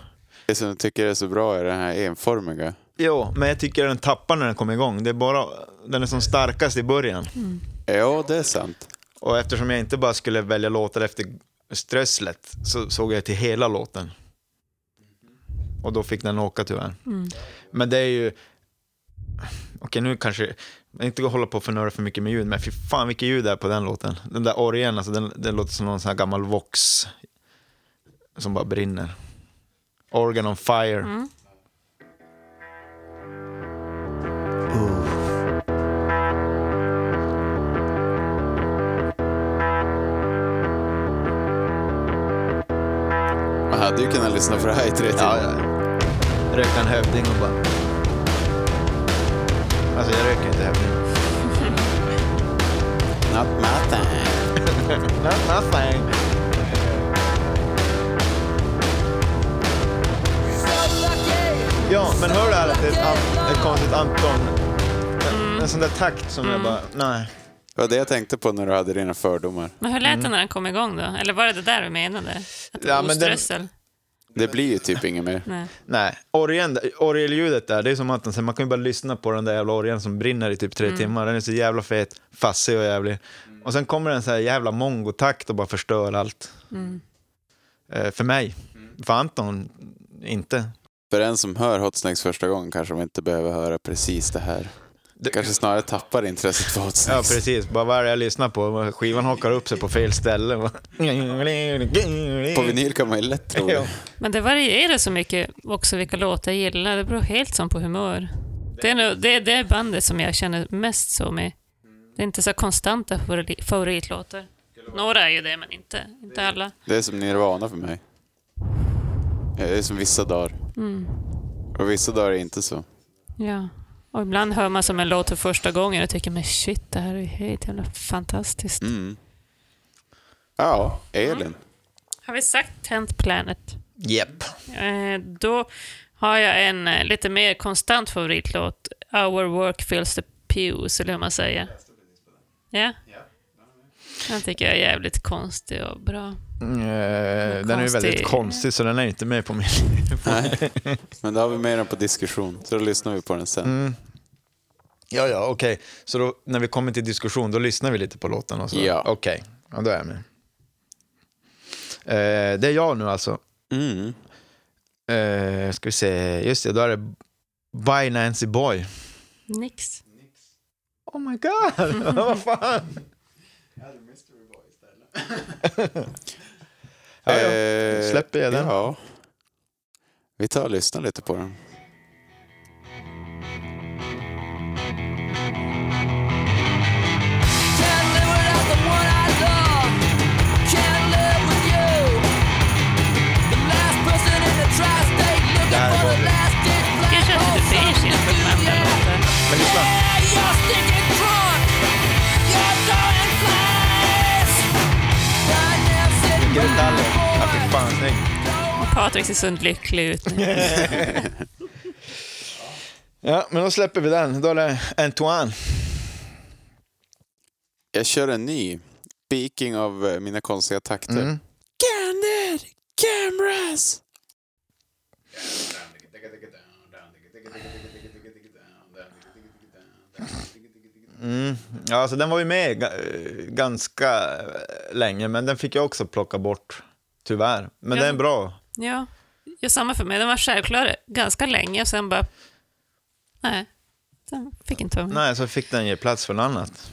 [SPEAKER 3] Det som jag tycker är så bra är den här enformiga.
[SPEAKER 4] Jo, men jag tycker den tappar när den kommer igång. Det är bara, den är som starkast i början.
[SPEAKER 2] Mm.
[SPEAKER 3] Ja, det är sant.
[SPEAKER 4] Och eftersom jag inte bara skulle välja låtar efter strösslet så såg jag till hela låten. Och då fick den åka tyvärr.
[SPEAKER 2] Mm.
[SPEAKER 4] Men det är ju... Okej, nu kanske... Jag inte hålla på och förnöra för mycket med ljud, men fy fan vilket ljud det är på den låten. Den där orgeln, alltså den, den låter som någon sån här gammal Vox som bara brinner. Organ on fire.
[SPEAKER 2] Mm.
[SPEAKER 3] Man hade ju kunnat lyssna på det här i tre timmar.
[SPEAKER 4] Ja, ja. Rökte en hövding och bara... Alltså jag röker inte hövding.
[SPEAKER 3] Not my time.
[SPEAKER 4] Not nothing. Ja, men hör du här att det är ett, an- ett konstigt Anton... En, en sån där takt som jag bara, nej.
[SPEAKER 3] Det var det jag tänkte på när du hade dina fördomar.
[SPEAKER 2] Men hur lät den när den kom igång då? Eller var det det där du menade? Att
[SPEAKER 4] Mm.
[SPEAKER 2] det
[SPEAKER 4] Ja,
[SPEAKER 2] var
[SPEAKER 4] men den-
[SPEAKER 2] oströssel?
[SPEAKER 3] Det blir ju typ inget mer.
[SPEAKER 2] Nej.
[SPEAKER 4] Nej, orgeln- orgelljudet där, det är som att man kan ju bara lyssna på den där jävla orgeln som brinner i typ tre timmar. Den är så jävla fet, fassig och jävlig. Och sen kommer den så här jävla mongotakt och bara förstör allt. Eh, för mig. För Anton, inte.
[SPEAKER 3] För en som hör Hot Snakes första gången kanske de inte behöver höra precis det här.
[SPEAKER 4] Det-
[SPEAKER 3] Kanske snarare tappar intresset för Hot
[SPEAKER 4] Ja,
[SPEAKER 3] Snakes.
[SPEAKER 4] precis. Bara vad är det jag lyssnar på? Skivan hakar upp sig på fel ställe.
[SPEAKER 3] På vinyl kan man ju lätt tro
[SPEAKER 4] Ja.
[SPEAKER 3] det.
[SPEAKER 2] Men det varierar så mycket också vilka låtar jag gillar. Det beror helt som på humör. Det är, nog, det, det är bandet som jag känner mest så med. Det är inte så konstanta favori- favoritlåtar. Några är ju det, men inte, inte alla.
[SPEAKER 3] Det är som Nirvana för mig. Det är som vissa dagar. Och vissa dagar är inte så.
[SPEAKER 2] Ja. Och ibland hör man som en låt för första gången och tycker men shit, det här är ju helt jävla fantastiskt.
[SPEAKER 3] Mm. Ja, Elin.
[SPEAKER 2] Har vi sagt Tent Planet?
[SPEAKER 4] Japp.
[SPEAKER 2] Eh, då har jag en eh, lite mer konstant favoritlåt. Our work fills the pews, eller hur man säger. Ja. Den tycker jag är jävligt konstig och bra.
[SPEAKER 4] Mm, eh, Den är ju väldigt
[SPEAKER 2] Konstig.
[SPEAKER 4] konstig, så den är inte med på min...
[SPEAKER 3] Nej. Men då har vi med den på diskussion. Så då lyssnar vi på den sen.
[SPEAKER 4] Ja, ja, okej. Så då, när vi kommer till diskussion, då lyssnar vi lite på låten och så?
[SPEAKER 3] Ja.
[SPEAKER 4] Okej, ja, då är jag med. Eh, det är jag nu alltså.
[SPEAKER 3] Mm.
[SPEAKER 4] Eh, ska vi se, just det, då är det By Nancy Boy.
[SPEAKER 2] Nix.
[SPEAKER 4] Oh my god, vad fan! ja, ja.
[SPEAKER 3] Eh,
[SPEAKER 4] släpper jag den.
[SPEAKER 3] Ja. Vi tar och lyssnar lite på den.
[SPEAKER 5] Can't live without the one I love. Can't live with you. The last person in the tri-state looking for the last ditch
[SPEAKER 2] Jag
[SPEAKER 5] black
[SPEAKER 2] känner
[SPEAKER 5] hole.
[SPEAKER 2] att det är
[SPEAKER 5] Something
[SPEAKER 2] jämfört med andra
[SPEAKER 5] to do,
[SPEAKER 2] låtar.
[SPEAKER 5] yeah.
[SPEAKER 4] Men lyssna.
[SPEAKER 5] Yeah, you're stinking drunk. You're so inflamed. I never said
[SPEAKER 4] Vilka detaljer. Ja, fy fan, snygg.
[SPEAKER 2] Och Patrik ser så lycklig ut nu.
[SPEAKER 4] Ja, men då släpper vi den. Då är det Antoine.
[SPEAKER 3] Jag kör en ny. Speaking of eh, mina konstiga takter.
[SPEAKER 4] Mm.
[SPEAKER 3] Candid cameras!
[SPEAKER 4] Mm. Ja, alltså, den var ju med ga- eh, ganska eh, länge, men den fick jag också plocka bort. Tyvärr. Men
[SPEAKER 2] Ja. Mm.
[SPEAKER 4] den är bra.
[SPEAKER 2] Ja. ja, samma för mig. Den var självklar ganska länge och sen bara... Nej, den fick inte vara med.
[SPEAKER 4] Nej, så fick den ge plats för något annat.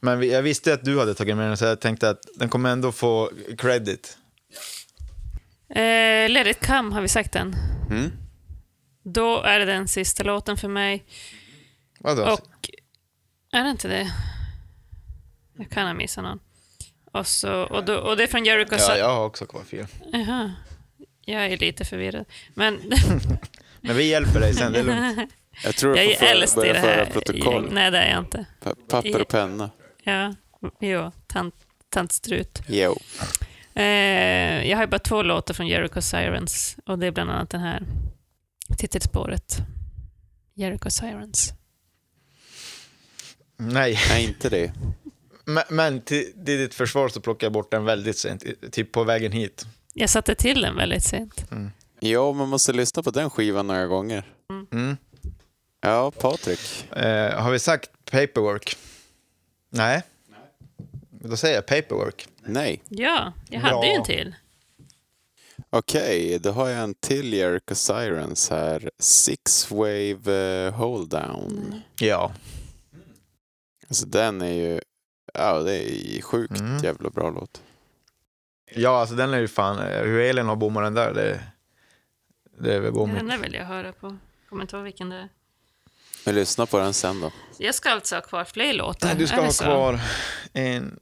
[SPEAKER 4] Men vi- jag visste att du hade tagit med den, så jag tänkte att den kommer ändå få credit.
[SPEAKER 2] Eh, Let it come, har vi sagt den?
[SPEAKER 3] Mm.
[SPEAKER 2] Då är det den sista låten för mig.
[SPEAKER 4] Vadå?
[SPEAKER 2] Och är det inte det? Jag kan ha missat någon. Och, så, och, då, och det är från Jericho
[SPEAKER 4] ja,
[SPEAKER 2] Sun.
[SPEAKER 4] jag har också kvar fel.
[SPEAKER 2] Jaha. Jag är lite förvirrad. Men
[SPEAKER 4] Men vi hjälper dig sen, det är lugnt.
[SPEAKER 3] Jag tror
[SPEAKER 2] jag
[SPEAKER 3] jag,
[SPEAKER 2] är
[SPEAKER 3] får
[SPEAKER 2] äldst
[SPEAKER 3] föra,
[SPEAKER 2] i
[SPEAKER 3] börja
[SPEAKER 2] det
[SPEAKER 3] föra
[SPEAKER 2] här
[SPEAKER 3] protokoll.
[SPEAKER 2] gäng- Nej, det är jag inte.
[SPEAKER 3] Pa- Papper och penna.
[SPEAKER 2] Ja, jo, tant, tant Strut.
[SPEAKER 3] Jo.
[SPEAKER 2] Eh, jag har ju bara två låtar från Jericho Sirens och det är bland annat den här titelspåret. Jericho Sirens.
[SPEAKER 4] Nej,
[SPEAKER 3] Nej, inte det.
[SPEAKER 4] men, men till, till ditt försvar så plockade jag bort den väldigt sent, i- typ på vägen hit.
[SPEAKER 2] Jag satte till den väldigt sent.
[SPEAKER 3] Jo, man måste lyssna på den skivan några gånger.
[SPEAKER 4] Mm.
[SPEAKER 3] Ja, Patrik.
[SPEAKER 4] Eh, har vi sagt paperwork? Nej. Då säger jag paperwork.
[SPEAKER 3] Nej.
[SPEAKER 2] Ja, jag
[SPEAKER 4] Bra.
[SPEAKER 2] hade ju en till.
[SPEAKER 3] Okej, då har jag en till Jericho Sirens här. Six Wave eh, Hold Down.
[SPEAKER 2] Mm.
[SPEAKER 4] Ja.
[SPEAKER 3] Alltså den är ju... Ja, det är sjukt
[SPEAKER 4] Mm.
[SPEAKER 3] jävla bra låt.
[SPEAKER 4] Ja, alltså den är ju fan, eh, hur Elin har bommat den där, det, det är övergångligt.
[SPEAKER 2] Den där vill jag höra på. Kommer inte ihåg vilken det är.
[SPEAKER 3] Vi lyssnar på den sen då.
[SPEAKER 2] Så Jag ska alltså ha kvar fler låtar.
[SPEAKER 4] Nej, du
[SPEAKER 2] är
[SPEAKER 4] ska
[SPEAKER 2] det
[SPEAKER 4] ha
[SPEAKER 2] så?
[SPEAKER 4] kvar en...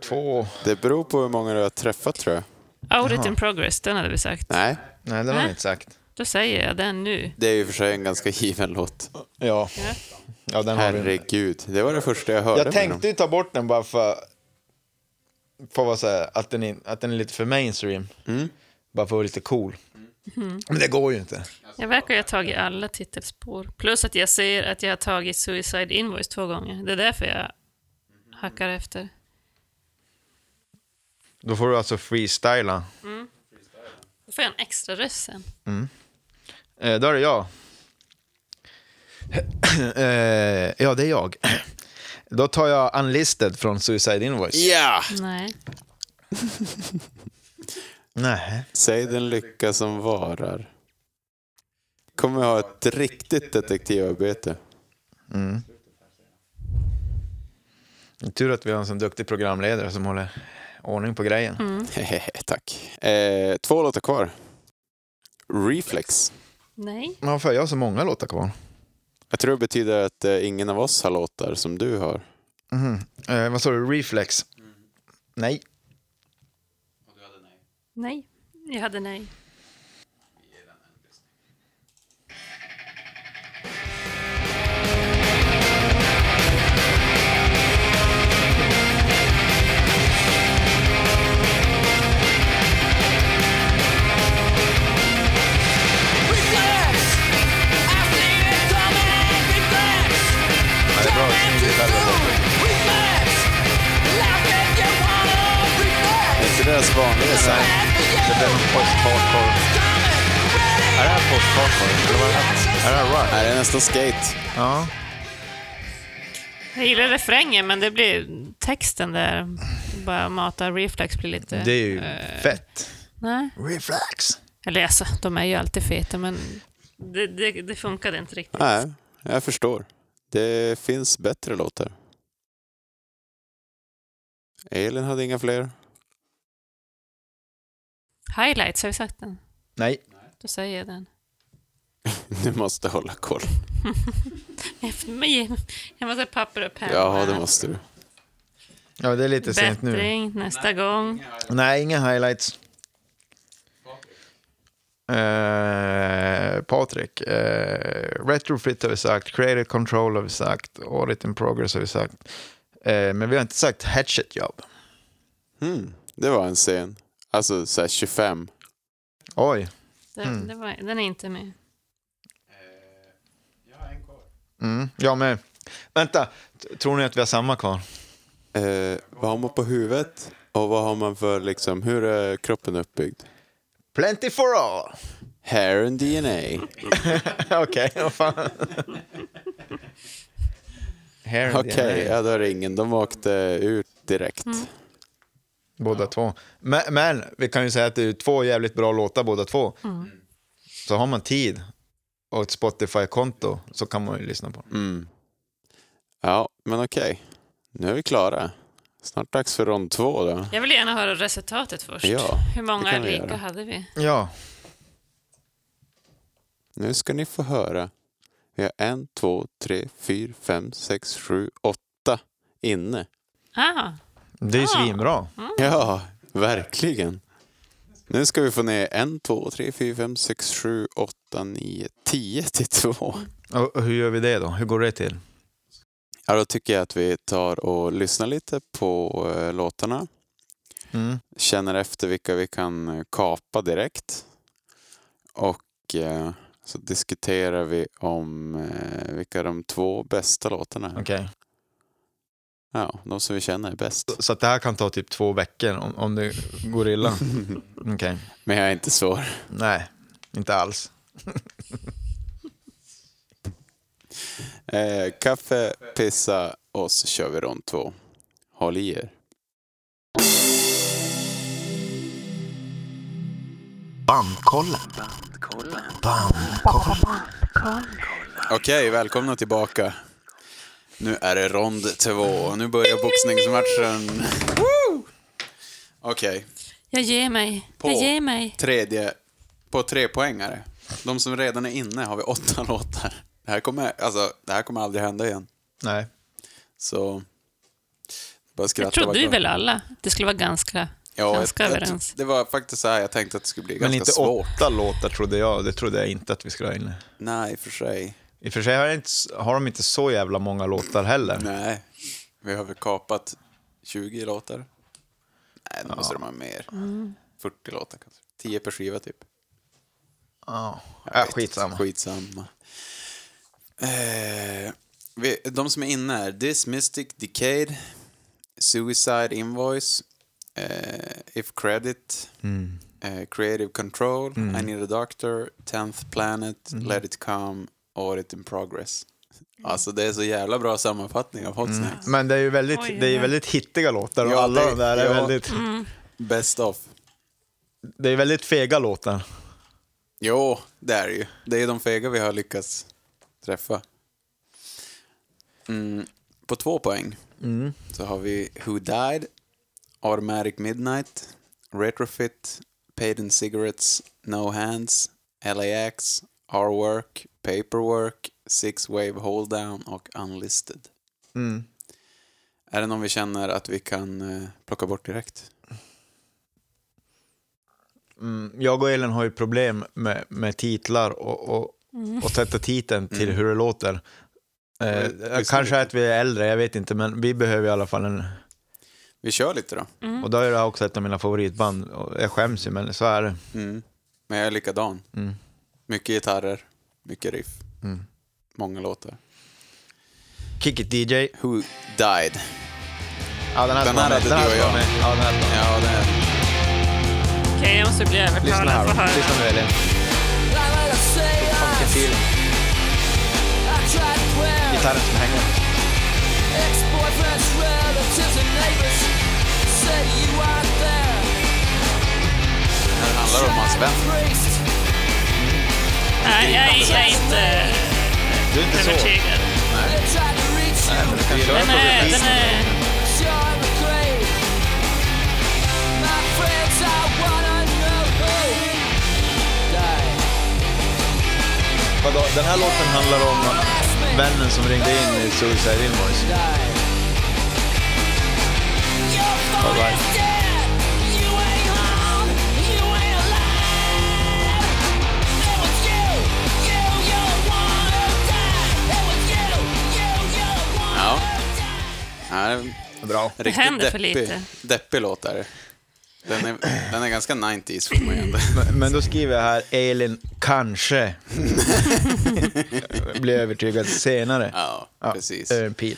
[SPEAKER 4] Två...
[SPEAKER 3] Det beror på hur många du har träffat tror jag.
[SPEAKER 2] Audit
[SPEAKER 4] Jaha.
[SPEAKER 2] in progress, den hade vi sagt.
[SPEAKER 3] Nej,
[SPEAKER 4] Nej, den har
[SPEAKER 2] Nej.
[SPEAKER 4] vi inte sagt.
[SPEAKER 2] Då säger jag den nu.
[SPEAKER 3] det är ju för sig en ganska given låt.
[SPEAKER 4] Ja.
[SPEAKER 2] Ja.
[SPEAKER 4] ja den har vi.
[SPEAKER 3] Herregud, det var det första jag hörde
[SPEAKER 4] Jag
[SPEAKER 3] med
[SPEAKER 4] tänkte
[SPEAKER 3] dem.
[SPEAKER 4] ju ta bort den bara för... För vad säga, att den, är, att den är lite för mainstream.
[SPEAKER 3] Mm.
[SPEAKER 4] Bara för att vara lite cool.
[SPEAKER 2] Mm.
[SPEAKER 4] Men det går ju inte.
[SPEAKER 2] Jag verkar ha tagit alla titelspår. Plus att jag ser att jag har tagit Suicide Invoice två gånger. Det är därför jag hackar efter.
[SPEAKER 4] Då får du alltså freestyla.
[SPEAKER 2] Då får jag en extra röst sen.
[SPEAKER 4] Eh, då är det jag. eh, ja, det är jag. då tar jag Unlisted från Suicide Invoice.
[SPEAKER 3] Ja!
[SPEAKER 2] Nej.
[SPEAKER 4] Nej.
[SPEAKER 3] Säg den lycka som varar. Kommer ha ett riktigt detektivarbete.
[SPEAKER 4] Tur att vi har en sån duktig programledare som håller ordning på grejen.
[SPEAKER 3] Hehehe, Tack. Eh, två låtar kvar. Reflex.
[SPEAKER 2] Nej.
[SPEAKER 4] Varför har jag så många låtar kvar?
[SPEAKER 3] Jag tror det betyder att eh, ingen av oss har låtar som du har.
[SPEAKER 4] Mhm. Eh, vad sa du? Reflex? Nej.
[SPEAKER 2] Nej. Jag hade nej.
[SPEAKER 3] Det är inte deras vanliga sound.
[SPEAKER 4] Det blev post-hardcore. Är det här post-hardcore? Eller vad är det här? Är det här rock?
[SPEAKER 3] Nej, det är nästan skate.
[SPEAKER 4] Ja.
[SPEAKER 2] Jag gillar refrängen, men det blir texten där. Bara mata reflex blir lite... eh,
[SPEAKER 4] Det är ju fett.
[SPEAKER 2] Nej.
[SPEAKER 4] Reflex.
[SPEAKER 2] Eller alltså, de är ju alltid feta, men det, det, det funkade inte riktigt.
[SPEAKER 3] Nej, jag förstår. Det finns bättre låtar. Elin hade inga fler.
[SPEAKER 2] Highlights, har vi sagt den?
[SPEAKER 4] Nej.
[SPEAKER 2] Då säger jag den.
[SPEAKER 3] Du måste hålla koll.
[SPEAKER 2] Efter mig. Jag måste ha papper och penna.
[SPEAKER 3] Ja, det måste du.
[SPEAKER 4] Ja, det är lite sent nu.
[SPEAKER 2] Bättring nästa gång.
[SPEAKER 4] Nej, inga highlights. Eh, Patrik, eh, Retrofit har vi sagt, Creative Control har vi sagt, Audit in Progress har vi sagt. Eh, men vi har inte sagt Hatchet Job.
[SPEAKER 3] Hmm, det var en scen. Alltså så här 25.
[SPEAKER 4] Oj.
[SPEAKER 2] Det,
[SPEAKER 3] Mm.
[SPEAKER 2] det var, den är inte med.
[SPEAKER 4] Mm. Ja, men vänta. T- Tror ni att vi har samma kvar?
[SPEAKER 3] Eh, vad har man på huvudet? Och vad har man för liksom, hur är kroppen uppbyggd?
[SPEAKER 4] Plenty for all!
[SPEAKER 3] Hair and DNA.
[SPEAKER 4] Okej, vad fan. Hair and DNA.
[SPEAKER 3] Okej, ja då är det ingen. De åkte ut direkt.
[SPEAKER 4] Båda två. Men, men vi kan ju säga att det är två jävligt bra låtar båda två.
[SPEAKER 3] Mm.
[SPEAKER 4] Så har man tid och ett Spotify-konto så kan man ju lyssna på dem.
[SPEAKER 3] Mm. Ja, men okej. Nu är vi klara. Snart dags för rond två då.
[SPEAKER 2] Jag vill gärna höra resultatet först.
[SPEAKER 3] Ja,
[SPEAKER 2] Hur
[SPEAKER 3] det
[SPEAKER 2] många
[SPEAKER 3] kan vi
[SPEAKER 2] lika
[SPEAKER 3] göra.
[SPEAKER 2] hade vi?
[SPEAKER 4] Ja,
[SPEAKER 3] Nu ska ni få höra. Vi har en, två, tre, fyra, fem, sex, sju, åtta inne.
[SPEAKER 2] Ah,
[SPEAKER 4] det är ju
[SPEAKER 2] Ja.
[SPEAKER 4] svinbra.
[SPEAKER 3] Ja, verkligen. Nu ska vi få ner en, två, tre, fyra, fem, sex, sju, åtta, nio, tio till två.
[SPEAKER 4] Och, och hur gör vi det då? Hur går det till?
[SPEAKER 3] Ja, då tycker jag att vi tar och lyssnar lite på eh, låtarna.
[SPEAKER 4] Mm.
[SPEAKER 3] Känner efter vilka vi kan eh, kapa direkt. Och eh, så diskuterar vi om eh, vilka de två bästa låtarna är.
[SPEAKER 4] Okej.
[SPEAKER 3] Ja, de som vi känner är bäst.
[SPEAKER 4] Så- Så att det här kan ta typ två veckor om, om det går illa? Okej.
[SPEAKER 3] Men jag är inte svår.
[SPEAKER 4] Nej, inte alls.
[SPEAKER 3] Eh, kaffe, pissa och så kör vi rond två. Håll i er.
[SPEAKER 1] Bandkollen. Bandkollen.
[SPEAKER 3] Okej, välkomna tillbaka. Nu är det rond två. Nu börjar boxningsmatchen. Woo! Okej,
[SPEAKER 2] jag ger mig. Jag
[SPEAKER 3] På.
[SPEAKER 2] ger mig.
[SPEAKER 3] tredje på tre poängare. De som redan är inne har vi åtta låtar. Det här kommer, alltså, det här kommer aldrig hända igen.
[SPEAKER 4] Nej.
[SPEAKER 3] Så... Bara skratta.
[SPEAKER 2] Jag trodde
[SPEAKER 3] bara
[SPEAKER 2] ju
[SPEAKER 3] glad.
[SPEAKER 2] väl alla. Det skulle vara ganska,
[SPEAKER 3] Ja,
[SPEAKER 2] ganska
[SPEAKER 3] jag- jag-
[SPEAKER 2] överens.
[SPEAKER 3] Det var faktiskt så här jag tänkte att det skulle bli
[SPEAKER 4] Men
[SPEAKER 3] ganska
[SPEAKER 4] inte
[SPEAKER 3] svårt.
[SPEAKER 4] åtta låtar trodde jag. Det trodde jag inte att vi skulle ha inne.
[SPEAKER 3] Nej, i och för sig.
[SPEAKER 4] I och för sig har, jag inte, s- har de inte så jävla många låtar heller.
[SPEAKER 3] Nej, vi har väl kapat 20 låtar. Nej, då måste de ha mer. 40 låtar kanske. 10 per skiva typ.
[SPEAKER 4] Ja, äh, skitsamma.
[SPEAKER 3] Skitsamma. Eh, vi, de som är inne är This Mystic Decade, Suicide Invoice, eh, If Credit,
[SPEAKER 4] Mm.
[SPEAKER 3] eh, Creative Control,
[SPEAKER 4] Mm.
[SPEAKER 3] I Need a Doctor, Tenth Planet,
[SPEAKER 4] Mm.
[SPEAKER 3] Let It Come och It In Progress. Alltså det är så jävla bra sammanfattning av Hot
[SPEAKER 4] Mm.
[SPEAKER 3] Snacks.
[SPEAKER 4] Men det är ju väldigt,
[SPEAKER 2] Oj,
[SPEAKER 4] det är ju
[SPEAKER 2] ja.
[SPEAKER 4] väldigt hittiga låtar och
[SPEAKER 3] Ja,
[SPEAKER 4] alla
[SPEAKER 3] det-
[SPEAKER 4] de där är
[SPEAKER 3] ja.
[SPEAKER 4] väldigt,
[SPEAKER 2] Mm.
[SPEAKER 3] Best of.
[SPEAKER 4] det är väldigt fega låtar.
[SPEAKER 3] Jo, det är det ju. Det är de fega vi har lyckats träffa. Mm, på två poäng
[SPEAKER 4] Mm.
[SPEAKER 3] så har vi Who Died, Automatic Midnight, Retrofit, Paid in Cigarettes, No Hands, LAX, Our Work, Paperwork, Six Wave Hold Down och Unlisted.
[SPEAKER 4] Mm.
[SPEAKER 3] Är det någon vi känner att vi kan eh, plocka bort direkt?
[SPEAKER 4] Mm. Jag och Elin har ju problem med, med titlar och, och,
[SPEAKER 2] Mm.
[SPEAKER 4] och sätta titeln till
[SPEAKER 3] Mm.
[SPEAKER 4] hur det låter. Eh,
[SPEAKER 3] Visst är det
[SPEAKER 4] kanske
[SPEAKER 3] lite.
[SPEAKER 4] att vi är äldre, jag vet inte, men vi behöver i alla fall en...
[SPEAKER 3] Vi kör lite då.
[SPEAKER 2] Mm.
[SPEAKER 4] Och då är det också ett av mina favoritband. Och Jag skäms ju, men så är det.
[SPEAKER 3] Mm. Men jag är likadan.
[SPEAKER 4] Mm.
[SPEAKER 3] Mycket gitarrer, mycket riff,
[SPEAKER 4] Mm.
[SPEAKER 3] många låtar.
[SPEAKER 4] Kick it DJ.
[SPEAKER 3] Who Died.
[SPEAKER 4] Ja, den här
[SPEAKER 3] Den
[SPEAKER 4] ska vara
[SPEAKER 3] här
[SPEAKER 4] med.
[SPEAKER 3] hade
[SPEAKER 4] Den här
[SPEAKER 3] du och
[SPEAKER 4] ska vara
[SPEAKER 3] jag.
[SPEAKER 4] med. Ja, den här ska vara med.
[SPEAKER 3] Ja, det är...
[SPEAKER 2] Okej, jag måste bli
[SPEAKER 4] Lyssna
[SPEAKER 2] övertalad för att
[SPEAKER 4] här. Lyssna
[SPEAKER 2] höra.
[SPEAKER 4] nu Elin. Vilken
[SPEAKER 5] I
[SPEAKER 4] feeling.
[SPEAKER 5] tried prayer.
[SPEAKER 4] Gitarren som hänger.
[SPEAKER 5] Ex-boyfriends, relatives, and neighbors say you aren't there.
[SPEAKER 3] Det här handlar om hans vän.
[SPEAKER 5] Priest,
[SPEAKER 2] Nej, jag, är- jag är inte
[SPEAKER 4] Du är inte så.
[SPEAKER 2] övertygad.
[SPEAKER 5] they tried to reach you.
[SPEAKER 3] Vi gillar
[SPEAKER 2] Den är, den är,
[SPEAKER 5] You're in the grave. My friends, I wanna know who died.
[SPEAKER 4] Vadå, Den här låten handlar om
[SPEAKER 5] Ask me
[SPEAKER 4] vännen som ringde in i Suicide Invoice.
[SPEAKER 5] died. Your phone
[SPEAKER 4] Alright.
[SPEAKER 5] is dead. You ain't home. You ain't alive. It was you. You, you're the one who died. It was you. You, you're the one
[SPEAKER 3] Ja.
[SPEAKER 5] who died.
[SPEAKER 3] Nej,
[SPEAKER 4] Bra.
[SPEAKER 3] riktigt
[SPEAKER 2] händer för
[SPEAKER 3] deppig,
[SPEAKER 2] lite.
[SPEAKER 3] deppig låt är det. Den är, den är ganska 90s får man ju ändå.
[SPEAKER 4] Men- Men då skriver jag här Elin kanske blir övertygad senare.
[SPEAKER 3] Ja, precis.
[SPEAKER 4] det är en pil.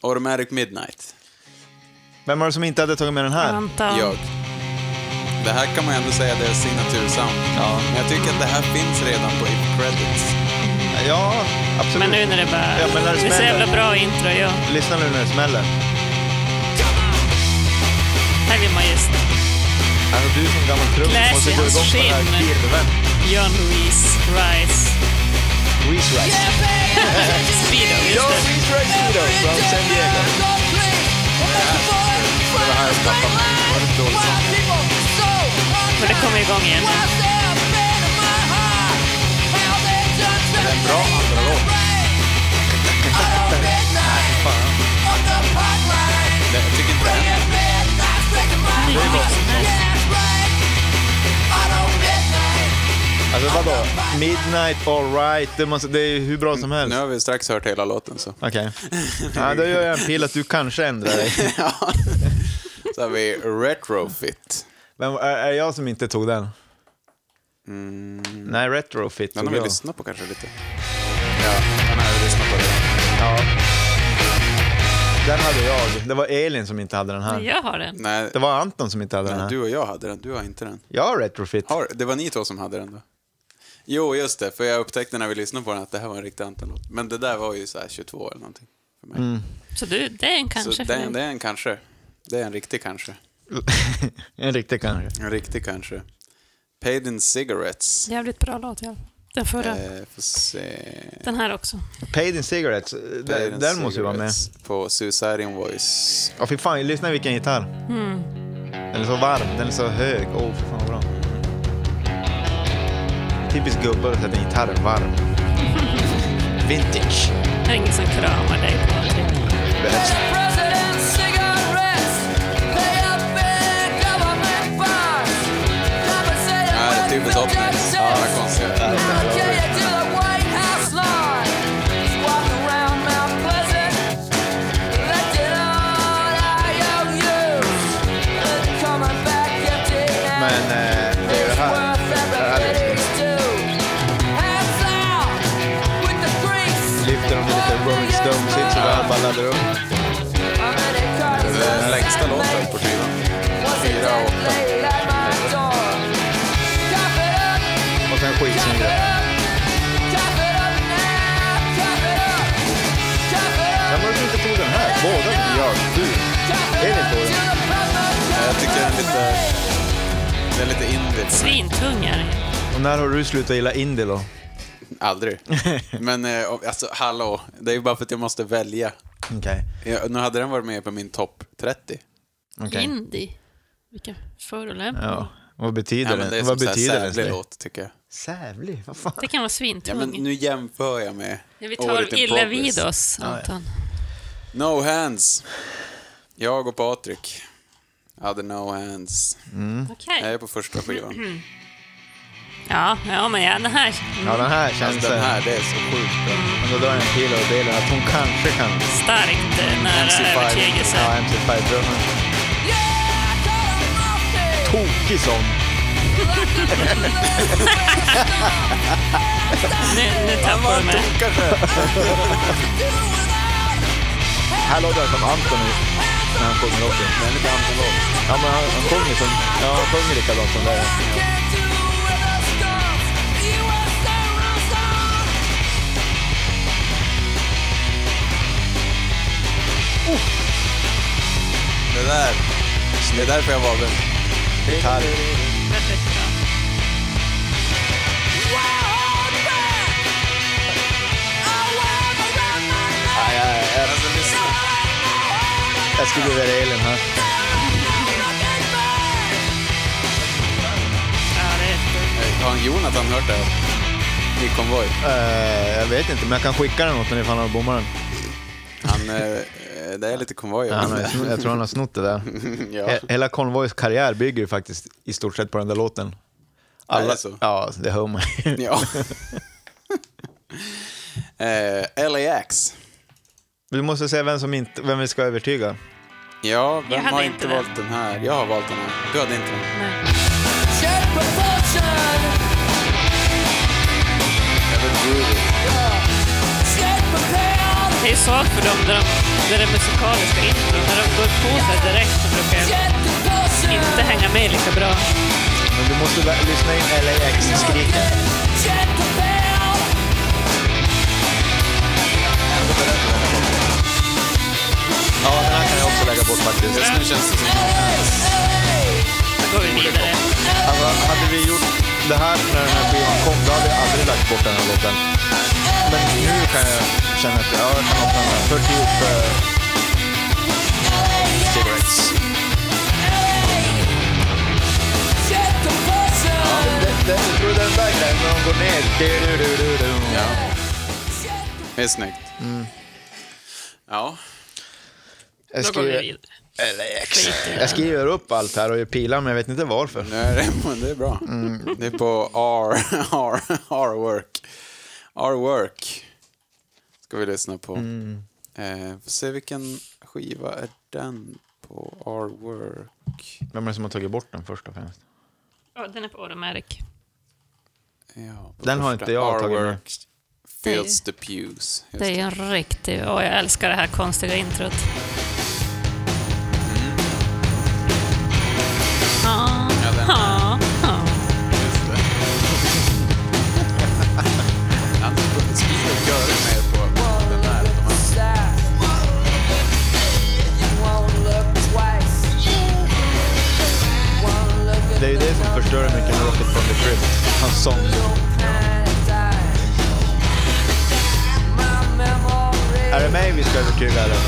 [SPEAKER 3] Automatic Midnight.
[SPEAKER 4] Vem var det som inte hade tagit med den här?
[SPEAKER 2] Anton.
[SPEAKER 3] Jag. Det här kan man ju ändå säga det är signatursound.
[SPEAKER 4] Ja.
[SPEAKER 3] Men jag tycker att det här finns redan på If Credits.
[SPEAKER 4] Ja, absolut.
[SPEAKER 2] Men nu när det bara...
[SPEAKER 4] Ja, men när det
[SPEAKER 2] det är så
[SPEAKER 4] smäller.
[SPEAKER 2] jävla bra intro, ja.
[SPEAKER 4] Lyssna nu när det smäller.
[SPEAKER 2] Här vill man just
[SPEAKER 4] Alltså du som gammal trummis
[SPEAKER 2] Gläs
[SPEAKER 4] måste
[SPEAKER 2] i
[SPEAKER 4] gå
[SPEAKER 2] hans
[SPEAKER 4] igång på den här
[SPEAKER 2] skinn.
[SPEAKER 4] kirven.
[SPEAKER 2] John Louise Rice.
[SPEAKER 4] Reese Rice.
[SPEAKER 2] Speedo, just det.
[SPEAKER 4] Reese Rice Speedo från San Diego.
[SPEAKER 2] Och det kommer igång igen.
[SPEAKER 5] Det är en bra andra låt.
[SPEAKER 3] Det, jag tycker inte den...
[SPEAKER 4] Alltså vadå? Midnight Alright, det, måste, det är ju hur bra som helst.
[SPEAKER 3] Nu har vi strax hört hela låten så.
[SPEAKER 4] Okej. Ja, då gör jag en pil att du kanske ändrar dig.
[SPEAKER 3] Ja. Så har vi Retrofit.
[SPEAKER 4] Men är, är jag som inte tog den?
[SPEAKER 3] Mm,
[SPEAKER 4] Nej, Retrofit
[SPEAKER 3] den
[SPEAKER 4] tog
[SPEAKER 3] har vi
[SPEAKER 4] jag.
[SPEAKER 3] lyssnat på kanske lite. Ja, den har vi lyssnat på redan.
[SPEAKER 4] Ja. Den hade jag. Det var Elin som inte hade den här.
[SPEAKER 2] Jag har den.
[SPEAKER 3] Nej,
[SPEAKER 4] Det var Anton som inte hade den
[SPEAKER 3] nej,
[SPEAKER 4] här.
[SPEAKER 3] du och jag hade den, du har inte den.
[SPEAKER 4] Jag har Retrofit.
[SPEAKER 3] Har, det var ni två som hade den då? Jo, just det, för jag upptäckte när vi lyssnade på den att det här var en riktig Anton-låt. Men det där var ju så här 22 eller någonting. För mig.
[SPEAKER 2] Så du, det är en kanske
[SPEAKER 3] så
[SPEAKER 2] för
[SPEAKER 3] det, är-
[SPEAKER 2] dig.
[SPEAKER 3] det är en kanske. Det är en riktig kanske.
[SPEAKER 4] en riktig kanske.
[SPEAKER 3] En riktig kanske. Paid in cigarettes.
[SPEAKER 2] Jävligt bra låt, ja. Den förra.
[SPEAKER 3] Eh, får se.
[SPEAKER 2] Den här också.
[SPEAKER 4] Paid in Cigarettes, Eh,
[SPEAKER 3] Paid in
[SPEAKER 4] den, den måste ju vara med.
[SPEAKER 3] Cigarettes På Suicide Invoice.
[SPEAKER 4] Ja, fy fan, lyssna vilken gitarr. Den är så varm, den är så hög. Åh, oh, fy fan vad bra. Typiskt gubbar att sätta en gitarr varm. Vintage.
[SPEAKER 2] Det är ingen som kramar dig på typ.
[SPEAKER 4] Behövs.
[SPEAKER 3] Ja, det är typiskt Hotness. Ja, det är konstigt.
[SPEAKER 4] Men eh, det är ju det här. Det här är liksom- lyfter de lite Rolling Stones hits och bara laddar upp.
[SPEAKER 3] Det är den längsta låten på skivan.
[SPEAKER 5] Fyra
[SPEAKER 4] fyra och fem. Och sen skitsnygga. Men varför inte tog den här? Båda ni gör. Du. Elin tog den.
[SPEAKER 3] Jag tycker den är lite... Den är lite indie.
[SPEAKER 2] Svintung är den.
[SPEAKER 4] Och när har du slutat gilla indie då?
[SPEAKER 3] Aldrig. Men eh, alltså, hallå. Det är ju bara för att jag måste välja.
[SPEAKER 4] Okej.
[SPEAKER 3] Jag, nu hade den varit med på min topp 30.
[SPEAKER 4] Okej.
[SPEAKER 2] Indie. Vilken förolämpning.
[SPEAKER 4] Ja. Vad betyder
[SPEAKER 3] Ja, men det är
[SPEAKER 4] det?
[SPEAKER 3] som
[SPEAKER 4] Vad
[SPEAKER 3] så här
[SPEAKER 4] betyder
[SPEAKER 3] sävlig
[SPEAKER 4] det?
[SPEAKER 3] låt, tycker jag.
[SPEAKER 4] Sävlig? Vad fan?
[SPEAKER 2] Det kan vara
[SPEAKER 3] Ja,
[SPEAKER 2] svintung.
[SPEAKER 3] men nu jämför jag med
[SPEAKER 2] vi
[SPEAKER 3] året
[SPEAKER 2] tar
[SPEAKER 3] in
[SPEAKER 2] illa
[SPEAKER 3] progress.
[SPEAKER 2] vid oss,
[SPEAKER 4] ja.
[SPEAKER 2] Anton.
[SPEAKER 3] No hands. Jag och Patrik hade no hands.
[SPEAKER 2] Okej.
[SPEAKER 3] Jag är på första
[SPEAKER 2] Mm.
[SPEAKER 3] skivan.
[SPEAKER 2] Ja, ja, men ja, den här.
[SPEAKER 4] Ja, den här känns
[SPEAKER 3] Alltså, den här, det är så sjukt bra.
[SPEAKER 4] Men då drar jag en pil över delen att hon kanske kan...
[SPEAKER 2] Starkt eh, nära
[SPEAKER 4] MC5.
[SPEAKER 2] övertygelse.
[SPEAKER 4] Ja, MC5-drömmen. Tokig sång.
[SPEAKER 2] Nu, nu tappar du mig.
[SPEAKER 4] Här låter han som Anthony när han sjunger också.
[SPEAKER 3] Den är lite annorlunda.
[SPEAKER 4] Ja, men han, han sjunger som... Ja, han sjunger likadant som det.
[SPEAKER 3] Det där. Det är därför jag valde den.
[SPEAKER 4] Gitarr.
[SPEAKER 2] Perfekt bra.
[SPEAKER 4] Nej, jag, jag,
[SPEAKER 3] Alltså, lyssna.
[SPEAKER 4] jag skulle vilja Elin här.
[SPEAKER 2] Ja, det är jättebra.
[SPEAKER 3] Eh, Har Jonathan hört det? här? I konvoj.
[SPEAKER 4] Eh, jag vet inte, men jag kan skicka den åt honom ifall han bommar den.
[SPEAKER 3] Han, eh, eh, det är lite konvoj.
[SPEAKER 4] Ja, han har, ju snott- jag tror han har snott det där.
[SPEAKER 3] ja.
[SPEAKER 4] He- Hela Convoys karriär bygger ju faktiskt i stort sett på den där låten.
[SPEAKER 3] Är det så?
[SPEAKER 4] Ja, alltså, det hör man ju.
[SPEAKER 3] ja. eh, LAX.
[SPEAKER 4] Du måste säga vem, som inte, vem vi ska övertyga.
[SPEAKER 3] Ja, vem
[SPEAKER 2] hade
[SPEAKER 3] har
[SPEAKER 2] inte
[SPEAKER 3] inte
[SPEAKER 2] den.
[SPEAKER 3] valt den här? Jag har valt den här. Du hade inte den.
[SPEAKER 2] Nej.
[SPEAKER 3] Jag vill groovy.
[SPEAKER 2] Det är ju svagt för dem där de, där det musikaliska intro. När de går på sig direkt så brukar jag inte hänga med lika bra.
[SPEAKER 4] Men du måste vä- lyssna in LAX-skriken. Ja, den här kan jag också lägga bort faktiskt.
[SPEAKER 3] Just nu känns det som...
[SPEAKER 2] Då går vi vidare.
[SPEAKER 4] Alltså, hade vi gjort det här när den här skivan kom, då hade jag aldrig lagt bort den här låten. Men nu kan jag känna att ja, jag kan öppna den här. För typ... eh, cigarettes. Det, det, jag tror den där grejen när de går ner. Du-du-du-du-du.
[SPEAKER 3] Ja. Det är snyggt. Ja.
[SPEAKER 4] Jag,
[SPEAKER 2] Då går vi
[SPEAKER 4] skriver,
[SPEAKER 2] vidare.
[SPEAKER 4] jag skriver upp allt här och gör pilar, men jag vet inte varför.
[SPEAKER 3] Nu är det, men det är bra. Det är på R, R, R-work. R-work ska vi lyssna på. Eh, får se vilken skiva är den på R-work?
[SPEAKER 4] Vem är det som har tagit bort den först och främst?
[SPEAKER 2] Ja, den är på Automatic.
[SPEAKER 3] Ja, på
[SPEAKER 4] Den har
[SPEAKER 3] första.
[SPEAKER 4] inte jag tagit med.
[SPEAKER 3] R-work Fills the pews. Just
[SPEAKER 2] Det är ju en riktig... Åh, jag älskar det här konstiga introt. Ah,
[SPEAKER 3] Ja, den är-
[SPEAKER 2] ah, ah.
[SPEAKER 3] Just det. Han skriver och gör mer på den här. än de andra.
[SPEAKER 4] Det är ju det som förstör mycket med Rocket from the Crypt. Hans sång. Är det mig vi ska övertyga eller?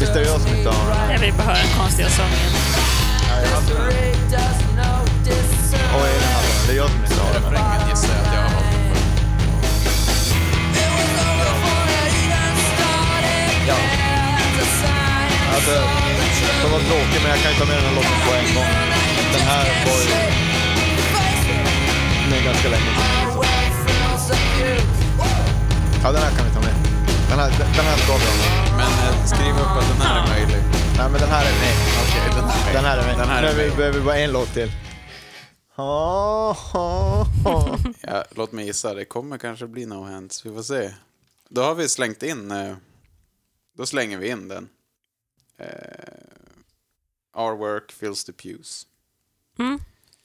[SPEAKER 4] Visst är det jag som inte har den?
[SPEAKER 2] Jag vill bara höra den konstiga sången.
[SPEAKER 4] Och är det, här? det är jag som inte har den.
[SPEAKER 3] Refrängen gissar jag att jag har hållit på.
[SPEAKER 4] Ja. Alltså, de var tråkiga men jag kan ju ta med den här låten på en gång. Den här var ju med ganska länge sedan. Ja, den här kan vi ta med. Den här, den här ska vi ha med.
[SPEAKER 3] Men eh, skriv upp att den här är möjlig.
[SPEAKER 4] Nej, men den här är med.
[SPEAKER 3] Okej, den här är
[SPEAKER 4] Den här är med.
[SPEAKER 3] Den här är
[SPEAKER 4] men vi
[SPEAKER 3] med.
[SPEAKER 4] behöver bara en låt till. Ha, ha, ha.
[SPEAKER 3] Ja, låt mig gissa, det kommer kanske bli No Hands. Vi får se. Då har vi slängt in... eh, Då slänger vi in den. Eh, Our work fills the pews.
[SPEAKER 2] Mm.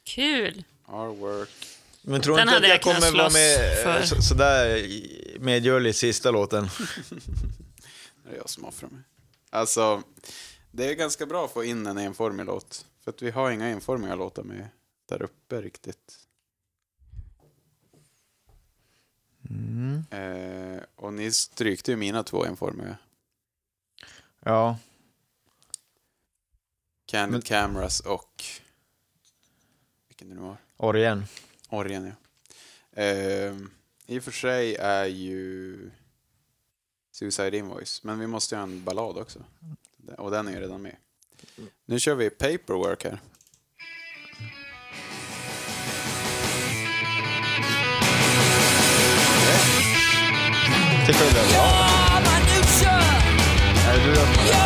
[SPEAKER 2] Kul!
[SPEAKER 3] Our work.
[SPEAKER 4] Men tror
[SPEAKER 2] Den
[SPEAKER 4] inte att
[SPEAKER 2] hade
[SPEAKER 4] jag
[SPEAKER 2] jag kunnat
[SPEAKER 4] kommer vara
[SPEAKER 2] slåss
[SPEAKER 4] med eh,
[SPEAKER 2] för.
[SPEAKER 4] så, sådär i- medgörlig i sista låten?
[SPEAKER 3] Det är jag som offrar mig. Alltså, det är ganska bra att få in en enformig låt. För att vi har inga enformiga låtar med där uppe riktigt. Eh, och ni strykte ju mina två enformiga.
[SPEAKER 4] Ja.
[SPEAKER 3] Candid
[SPEAKER 4] Men-
[SPEAKER 3] Cameras och... Vilken det nu var.
[SPEAKER 4] Orgen.
[SPEAKER 3] Orgen, ja. Ehm, I och för sig är ju Suicide Invoice, men vi måste ju ha en ballad också. Och den är ju redan med. Nu kör vi Paperwork här.
[SPEAKER 4] Till följd av ja.
[SPEAKER 3] Är det du då?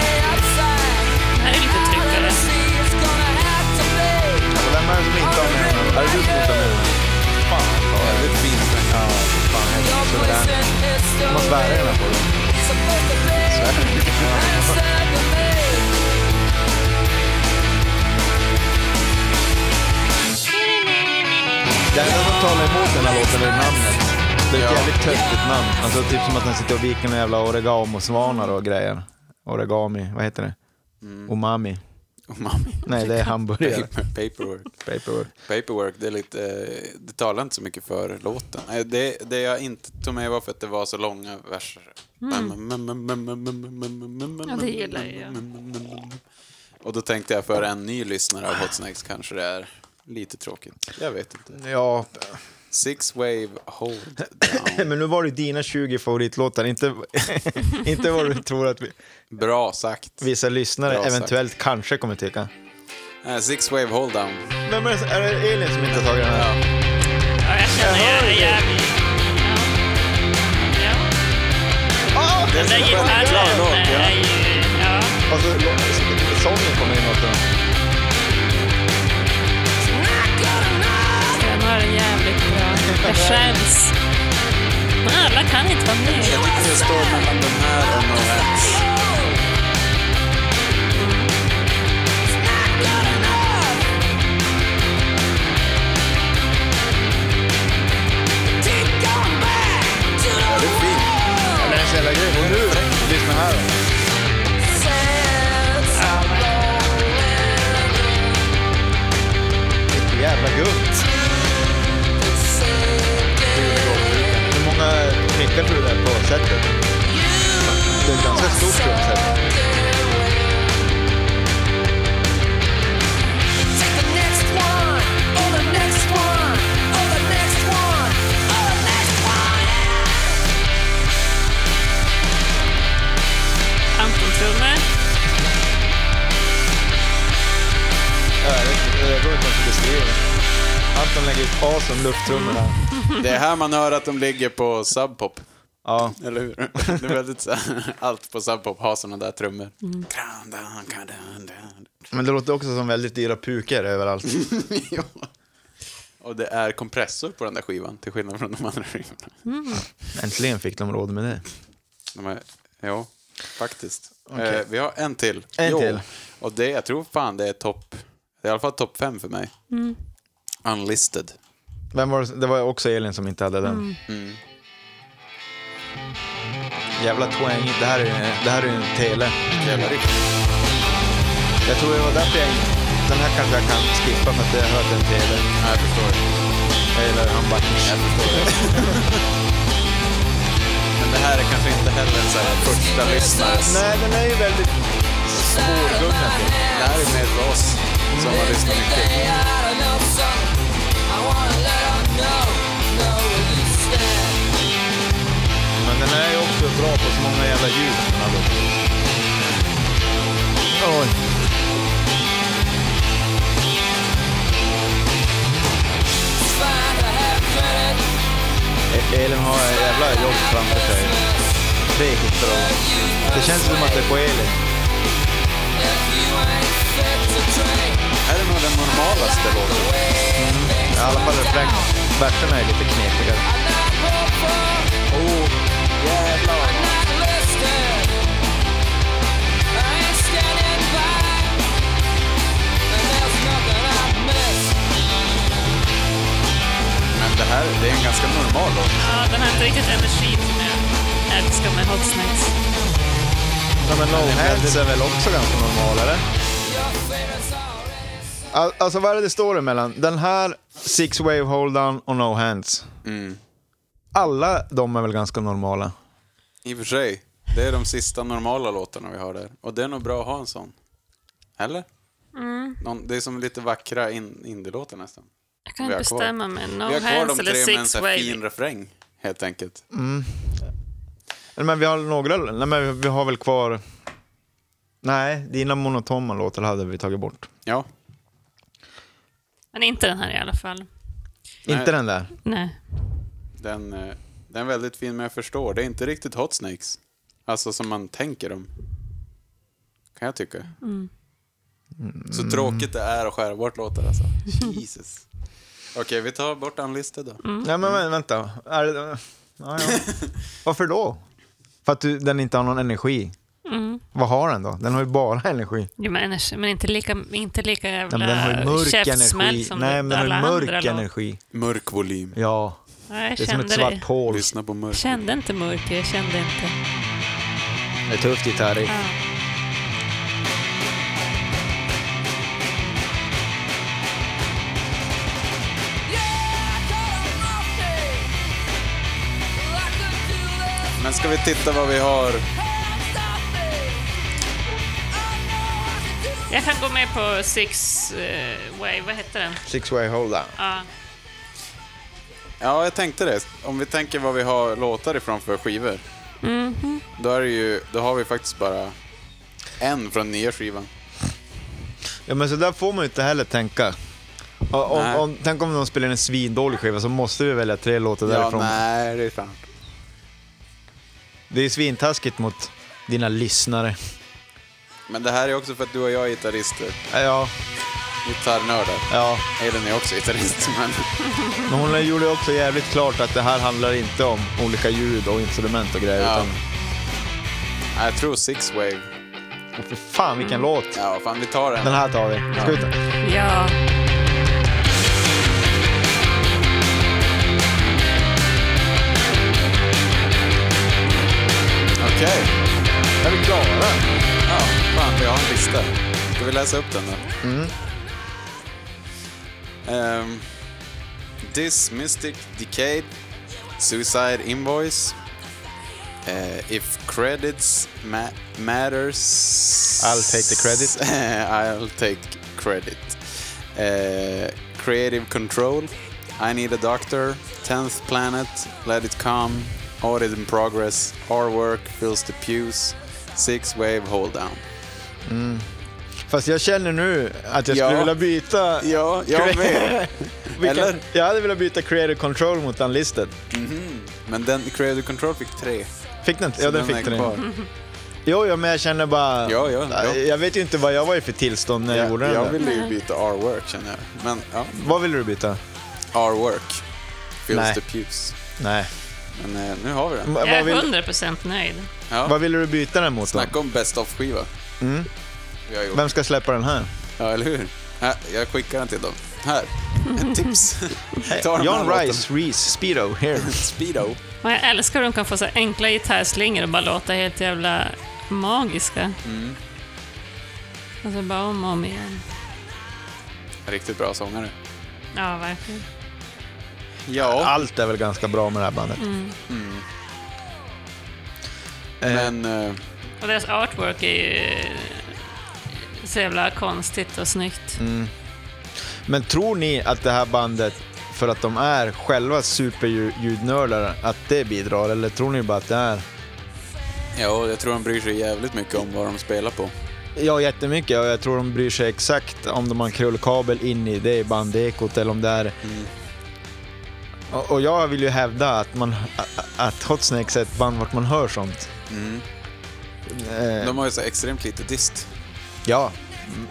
[SPEAKER 2] Det här
[SPEAKER 4] Vem är
[SPEAKER 2] är lite tryckare.
[SPEAKER 4] det som inte har med den? Är det du som inte har med den? Fan, vad är det fint. Ja, fan. jag är så där. Du måste bära den här på dig. Det enda som talar emot den här låten är namnet. Det är ett jävligt töntigt namn. Alltså typ som att den sitter och viker några jävla oregano-svanar och grejer. Origami, vad heter det? Umami.
[SPEAKER 3] Oh, mami.
[SPEAKER 4] Nej, det är hamburgare.
[SPEAKER 3] Paper- Paperwork.
[SPEAKER 4] Paperwork.
[SPEAKER 3] Paperwork, det är lite... eh, Det talar inte så mycket för låten. Eh, Det, det jag inte tog med var för att det var så långa verser.
[SPEAKER 2] Mm. Ja, det gillar jag.
[SPEAKER 3] Och då tänkte jag för en ny lyssnare av Hot Snacks kanske det är lite tråkigt. Jag vet inte.
[SPEAKER 4] Ja,
[SPEAKER 3] Six Wave Hold Down.
[SPEAKER 4] men nu var det dina 20 favoritlåtar, inte, inte vad du tror att vi,
[SPEAKER 3] Bra sagt.
[SPEAKER 4] vissa lyssnare
[SPEAKER 3] Bra sagt.
[SPEAKER 4] eventuellt kanske kommer tycka.
[SPEAKER 3] Eh, Six Wave Hold Down.
[SPEAKER 4] Vem är, det- är det Elin som inte har tagit den här?
[SPEAKER 3] Ja.
[SPEAKER 2] Ja, jag känner jag är jävligt... Ja.
[SPEAKER 4] Ah, det är
[SPEAKER 2] Den där
[SPEAKER 4] så bra.
[SPEAKER 2] gitarren eh,
[SPEAKER 3] låt, ja.
[SPEAKER 2] är ju... Ja.
[SPEAKER 4] Och så så- sången kommer in också.
[SPEAKER 2] Den har en jävligt bra... Jag skäms. Men alla kan inte vara
[SPEAKER 3] Jag
[SPEAKER 2] med.
[SPEAKER 3] tycker det står mellan den här och No Hats.
[SPEAKER 4] Det är en jävla grej. Och nu, lyssna här. Jävla gubbt. Hur många mickar tror du det är på setet? Det är ett ganska stort trumset.
[SPEAKER 2] Anton-trummor.
[SPEAKER 4] Ja, det- det går inte ens att beskriva. Anton lägger ut as om lufttrummorna.
[SPEAKER 3] Det är här man hör att de ligger på Sub Pop.
[SPEAKER 4] Ja,
[SPEAKER 3] Eller hur? Det är väldigt så här, allt på Sub Pop har såna där trummor.
[SPEAKER 4] Mm.
[SPEAKER 3] Dun, dun, dun, dun, dun.
[SPEAKER 4] men det låter också som väldigt dyra puker överallt.
[SPEAKER 3] Ja. Och det är kompressor på den där skivan, till skillnad från de andra skivorna.
[SPEAKER 4] Äntligen fick de råd med det.
[SPEAKER 3] De är, ja, faktiskt. Eh, vi har en till.
[SPEAKER 4] En till.
[SPEAKER 3] Och det, jag tror fan det är topp, det är i alla fall topp fem för mig.
[SPEAKER 4] Mm.
[SPEAKER 3] Unlisted.
[SPEAKER 4] Vem var det? det var också Elin som inte hade den. Mm. Jävla twang. Det här är ju det här är ju en tele.
[SPEAKER 3] Jävla riff.
[SPEAKER 4] Jag tror det var därför jag Den här kanske jag kan skippa för att jag har hört en tele.
[SPEAKER 3] Ja, jag förstår.
[SPEAKER 4] Jag gillar handbacken.
[SPEAKER 3] Jag förstår det. Men det här är kanske inte heller så här första lyssnares.
[SPEAKER 4] Nej, den är ju väldigt svårgungad.
[SPEAKER 3] Det här är mer för oss som har lyssnat mycket.
[SPEAKER 4] Men den är ju också bra på så många jävla ljud. den här låten. Oj. E- framför sig. Det hittar de. Det känns som att det är på elen.
[SPEAKER 3] Är det nog den normalaste låten?
[SPEAKER 4] Mm. I alla fall refrängen. Verserna är lite knepigare.
[SPEAKER 3] Oh, jävlar. Men det här, det är en ganska normal låt.
[SPEAKER 2] Ja, den har inte riktigt energin som jag älskar med Hot Snacks.
[SPEAKER 4] Ja, men no hands är väl också ganska normal, eller? Al- Alltså vad är det det står emellan? Den här, Six Wave Hold Down och No Hands. Alla de är väl ganska normala?
[SPEAKER 3] I och för sig, det är de sista normala låtarna vi har där. Och det är nog bra att ha en sån. Eller? Någon, det är som lite vackra in, indie-låtar nästan.
[SPEAKER 2] Jag kan
[SPEAKER 3] Vi
[SPEAKER 2] inte
[SPEAKER 3] har kvar-
[SPEAKER 2] bestämma mig.
[SPEAKER 3] vi
[SPEAKER 2] No
[SPEAKER 3] har kvar
[SPEAKER 2] hands
[SPEAKER 3] de
[SPEAKER 2] eller
[SPEAKER 3] tre med en
[SPEAKER 2] six
[SPEAKER 3] sån här
[SPEAKER 2] wave.
[SPEAKER 3] fin refräng, helt enkelt.
[SPEAKER 4] Eller, men vi har några, nej men vi har väl kvar... Nej, dina monotoma låtar hade vi tagit bort.
[SPEAKER 3] Ja.
[SPEAKER 2] Men inte den här i alla fall.
[SPEAKER 3] Nej.
[SPEAKER 4] Inte den där.
[SPEAKER 2] Nej.
[SPEAKER 3] Den, eh, den är väldigt fin, men jag förstår. Det är inte riktigt Hot Snakes. Alltså som man tänker dem. Kan jag tycka. Så tråkigt det är att skära bort låtar alltså. Jesus. Okej, vi tar bort Unlisted då.
[SPEAKER 2] Mm.
[SPEAKER 4] Nej men vä- vänta. Är det... ja, ja. Varför då? För att du, den inte har någon energi.
[SPEAKER 2] Mm.
[SPEAKER 4] Vad har den då? Den har ju bara energi.
[SPEAKER 2] Jo, men, energi, men inte lika, inte lika jävla
[SPEAKER 4] Nej, men den har ju mörk
[SPEAKER 2] Äh, käftsmäll
[SPEAKER 4] energi.
[SPEAKER 2] som
[SPEAKER 4] Nej, men den har ju
[SPEAKER 2] alla
[SPEAKER 4] mörk
[SPEAKER 2] andra låtar.
[SPEAKER 4] energi.
[SPEAKER 3] Mörk volym.
[SPEAKER 4] Ja,
[SPEAKER 2] Nej, jag
[SPEAKER 4] det är som
[SPEAKER 2] kände
[SPEAKER 4] ett svart
[SPEAKER 2] det.
[SPEAKER 4] hål.
[SPEAKER 3] Lyssna på mörk.
[SPEAKER 2] Jag kände inte mörker, jag kände inte...
[SPEAKER 4] Det är tufft gitarr i.
[SPEAKER 2] Ja.
[SPEAKER 3] Men ska vi titta vad vi har?
[SPEAKER 2] Jag kan gå med på Six eh, Way, vad hette den?
[SPEAKER 4] Six way hold down.
[SPEAKER 2] Ja.
[SPEAKER 3] Ja, jag tänkte det. Om vi tänker vad vi har låtar ifrån för skivor. Då, är det ju, då har vi faktiskt bara en från nya skivan.
[SPEAKER 4] Ja men så där får man ju inte heller tänka. O- Om,
[SPEAKER 3] Nej.
[SPEAKER 4] om, tänk om de spelar in en svindålig skiva så måste vi välja tre låtar
[SPEAKER 3] Ja,
[SPEAKER 4] därifrån.
[SPEAKER 3] nej, det är sant.
[SPEAKER 4] Det är svintaskigt mot dina lyssnare.
[SPEAKER 3] Men det här är också för att du och jag är gitarrister.
[SPEAKER 4] Ja,
[SPEAKER 3] Gitarrnördar.
[SPEAKER 4] ja.
[SPEAKER 3] Elin är också gitarrist, men...
[SPEAKER 4] Men hon gjorde ju också jävligt klart att det här handlar inte om olika ljud och instrument och grejer.
[SPEAKER 3] Ja.
[SPEAKER 4] Utan,
[SPEAKER 3] Jag tror Six Wave.
[SPEAKER 4] Åh, fy fan vilken låt!
[SPEAKER 3] Ja, fan vi tar den.
[SPEAKER 4] Den här tar vi. Ska vi ta?
[SPEAKER 2] ja.
[SPEAKER 3] Okej.
[SPEAKER 4] Är vi klara?
[SPEAKER 3] Ja, fan vi har en lista. Ska vi läsa upp den då?
[SPEAKER 4] Mm.
[SPEAKER 3] Ehm, this Mystic Decade Suicide Invoice eh, If Credits ma- Matters
[SPEAKER 4] I'll take the credit.
[SPEAKER 3] I'll take credit. Eh, creative Control I Need a Doctor Tenth Planet Let It Come Audit in Progress Our Work Fills the Pews Six Wave Hold Down
[SPEAKER 4] Fast jag känner nu att jag
[SPEAKER 3] Ja.
[SPEAKER 4] skulle vilja byta...
[SPEAKER 3] Ja, jag med.
[SPEAKER 4] Vilken-
[SPEAKER 3] Eller?
[SPEAKER 4] Jag hade velat byta Creator Control mot Unlisted.
[SPEAKER 3] Men den Creative Control fick tre.
[SPEAKER 4] Fick den inte?
[SPEAKER 3] så
[SPEAKER 4] Ja, den
[SPEAKER 3] är
[SPEAKER 4] fick Mm. den.
[SPEAKER 3] kvar.
[SPEAKER 4] inte. Jo, jo, men jag känner bara...
[SPEAKER 3] Ja, ja, ja.
[SPEAKER 4] Jag vet ju inte vad jag var i för tillstånd när jag gjorde
[SPEAKER 3] Jag,
[SPEAKER 4] den
[SPEAKER 3] jag
[SPEAKER 4] där.
[SPEAKER 3] ville ju byta R-Work känner jag. Men ja,
[SPEAKER 4] Vad ville du byta?
[SPEAKER 3] R-Work. Fills
[SPEAKER 4] Nej.
[SPEAKER 3] the pews.
[SPEAKER 4] Nej.
[SPEAKER 3] Men eh, nu har vi den.
[SPEAKER 4] Va-
[SPEAKER 2] Jag är
[SPEAKER 4] vad, vill,
[SPEAKER 2] 100% nöjd.
[SPEAKER 3] Ja.
[SPEAKER 4] vad Mm. ville du byta den mot då?
[SPEAKER 3] Snacka om best of-skiva. Vi har gjort.
[SPEAKER 4] Vem ska släppa den här?
[SPEAKER 3] Ja, eller hur? Här, jag skickar den till dem. Här, ett tips. Ta den här
[SPEAKER 4] John
[SPEAKER 3] låten.
[SPEAKER 4] Rice, Reese, Speedo, here.
[SPEAKER 3] Speedo.
[SPEAKER 2] Men jag älskar hur de kan få så här enkla gitarrslingor och bara låta helt jävla magiska.
[SPEAKER 4] Mm.
[SPEAKER 2] Alltså bara om och om igen.
[SPEAKER 3] Riktigt bra sångare.
[SPEAKER 2] Ja, verkligen.
[SPEAKER 3] Ja, Mm.
[SPEAKER 4] Allt är väl ganska bra med det här bandet.
[SPEAKER 3] men eh,
[SPEAKER 2] Och deras artwork är ju så jävla konstigt och snyggt.
[SPEAKER 4] Men tror ni att det här bandet, för att de är själva superljudnördar, att det bidrar? Eller tror ni bara att det är...
[SPEAKER 3] ja, jag tror de bryr sig jävligt mycket om vad de spelar på.
[SPEAKER 4] Eh. Ja, jättemycket. Och jag tror de bryr sig Mm. exakt om de har en krullkabel in i det bandekot eller om det är... Och, och jag vill ju hävda att, man, att Hot Snakes är ett band vart man hör sånt.
[SPEAKER 3] Mm.
[SPEAKER 4] Eh,
[SPEAKER 3] De har ju så extremt lite dist.
[SPEAKER 4] Ja. Mm,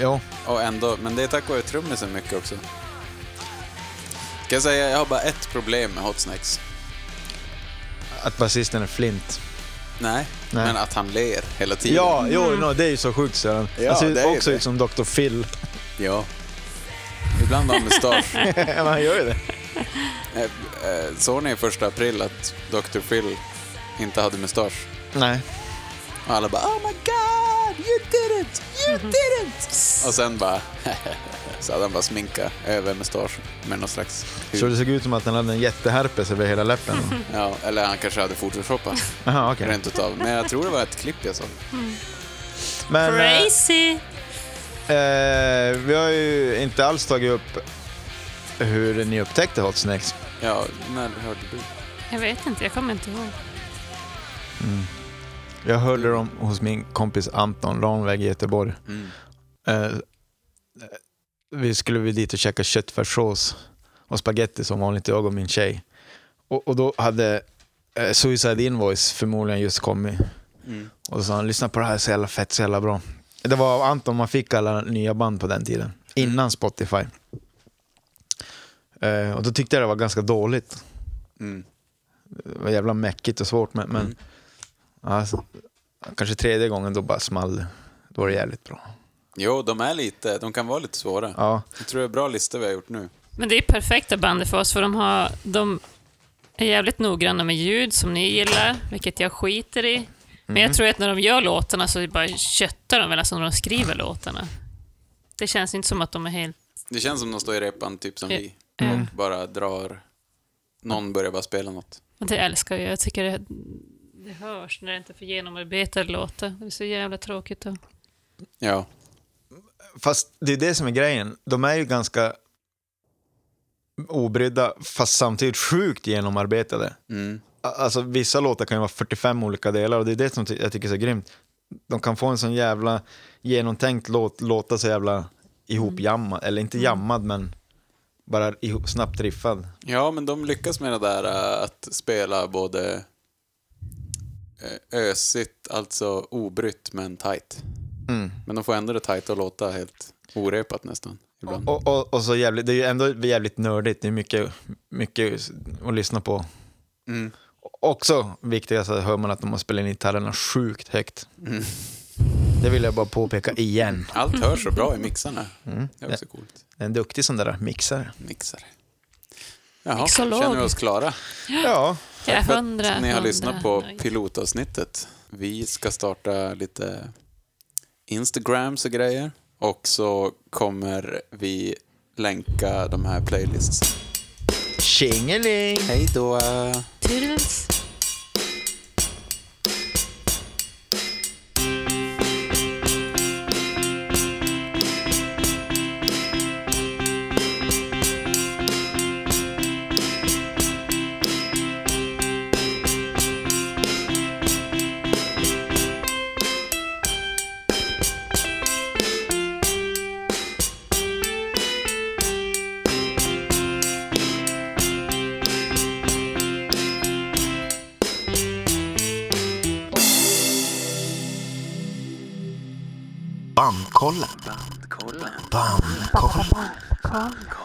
[SPEAKER 4] Jo.
[SPEAKER 3] Och ändå, men det är tack vare trummisen mycket också. Kan jag säga, jag har bara ett problem med Hot Snakes.
[SPEAKER 4] Att basisten är flint.
[SPEAKER 3] Nej,
[SPEAKER 4] Nej.
[SPEAKER 3] men att han ler hela tiden.
[SPEAKER 4] Ja, jo, no, det är ju så sjukt Sören.
[SPEAKER 3] Ja,
[SPEAKER 4] Han ser
[SPEAKER 3] det är
[SPEAKER 4] ju
[SPEAKER 3] ju
[SPEAKER 4] också
[SPEAKER 3] det.
[SPEAKER 4] ut som Dr. Phil.
[SPEAKER 3] ja. Ibland har han mustasch.
[SPEAKER 4] Men han gör ju det.
[SPEAKER 3] Eh, eh, Såg ni första april att Dr. Phil inte hade mustasch?
[SPEAKER 4] Nej.
[SPEAKER 3] Och alla bara Oh my god, you didn't, you didn't! Och sen bara... så hade han bara sminka över mustaschen med någon slags hud.
[SPEAKER 4] Så det såg ut som att han hade en jätteherpes över hela läppen.
[SPEAKER 3] Ja, eller han kanske hade photoshoppat
[SPEAKER 4] Jaha, okej.
[SPEAKER 3] rent utav. Men jag tror det var ett klipp jag såg.
[SPEAKER 4] Men eh,
[SPEAKER 2] Crazy!
[SPEAKER 4] eh, vi har ju inte alls tagit upp hur ni upptäckte Hot Snakes.
[SPEAKER 3] Ja, när hörde du?
[SPEAKER 2] Jag vet inte, jag kommer inte ihåg.
[SPEAKER 4] Jag hörde dem hos min kompis Anton Ranväg i Göteborg.
[SPEAKER 3] Mm.
[SPEAKER 4] Eh, vi skulle vi dit och käka köttfärssås och spaghetti som vanligt, jag och min tjej. Och, och då hade eh, Suicide Invoice förmodligen just kommit.
[SPEAKER 3] Mm.
[SPEAKER 4] Och så sa han, lyssna på det här, så jävla fett, så jävla bra. Det var av Anton man fick alla nya band på den tiden, innan Spotify. Eh, och då tyckte jag det var ganska dåligt.
[SPEAKER 3] Mm.
[SPEAKER 4] Det var jävla mäckigt och svårt, men, men
[SPEAKER 3] Mm.
[SPEAKER 4] ja, så- kanske tredje gången då bara small det. Då var det jävligt bra.
[SPEAKER 3] Jo, de är lite, de kan vara lite svåra.
[SPEAKER 4] Ja.
[SPEAKER 3] Jag tror det är bra listor vi har gjort nu.
[SPEAKER 2] Men det är perfekta bandet för oss, för de, har, de är jävligt noggranna med ljud som ni gillar, vilket jag skiter i. Men
[SPEAKER 3] Mm.
[SPEAKER 2] jag tror att när de gör låtarna så bara köttar de väl, alltså när de skriver låtarna. Det känns inte som att de är helt...
[SPEAKER 3] Det känns som de står i repan typ som vi
[SPEAKER 2] Mm.
[SPEAKER 3] och bara drar. Någon börjar bara spela något.
[SPEAKER 2] Och det älskar jag. Jag tycker det, det hörs när det inte är för genomarbetade låtar. Det är så jävla tråkigt. Och...
[SPEAKER 3] Ja.
[SPEAKER 4] Fast det är det som är grejen. De är ju ganska obrydda, fast samtidigt sjukt genomarbetade.
[SPEAKER 3] Mm.
[SPEAKER 4] A- Alltså vissa låtar kan ju vara 45 olika delar och det är det som ty- jag tycker är så grymt. De kan få en sån jävla genomtänkt låt, låta så jävla ihopjammad, eller inte jammad men bara ihop, snabbt riffad.
[SPEAKER 3] Ja, men de lyckas med det där äh, att spela både äh, ösigt, alltså obrytt, men tight.
[SPEAKER 4] Mm.
[SPEAKER 3] Men de får ändå det tight att låta helt orepat nästan. Ibland.
[SPEAKER 4] Och, och, och så jävligt, det är ju ändå jävligt nördigt, det är mycket, mycket att lyssna på.
[SPEAKER 3] Mm.
[SPEAKER 4] Också viktigast att hör man att de har spelat in gitarrerna sjukt högt. Det vill jag bara påpeka igen.
[SPEAKER 3] Mm. Allt hörs så bra i mixarna. Det är också coolt.
[SPEAKER 4] Det är En duktig sån där mixare.
[SPEAKER 3] Mixare. Jaha,
[SPEAKER 2] Mixolog.
[SPEAKER 3] känner vi oss klara?
[SPEAKER 4] Ja,
[SPEAKER 2] Jag är
[SPEAKER 3] För att
[SPEAKER 2] hundra,
[SPEAKER 3] ni har
[SPEAKER 2] hundra
[SPEAKER 3] lyssnat på
[SPEAKER 2] nöjd.
[SPEAKER 3] pilotavsnittet. Vi ska starta lite Instagrams och grejer. Och så kommer vi länka de här playlists.
[SPEAKER 4] tjingeling!
[SPEAKER 3] Hej då!
[SPEAKER 2] Toodles.
[SPEAKER 1] Bandkollen. Bandkollen. Bandkollen.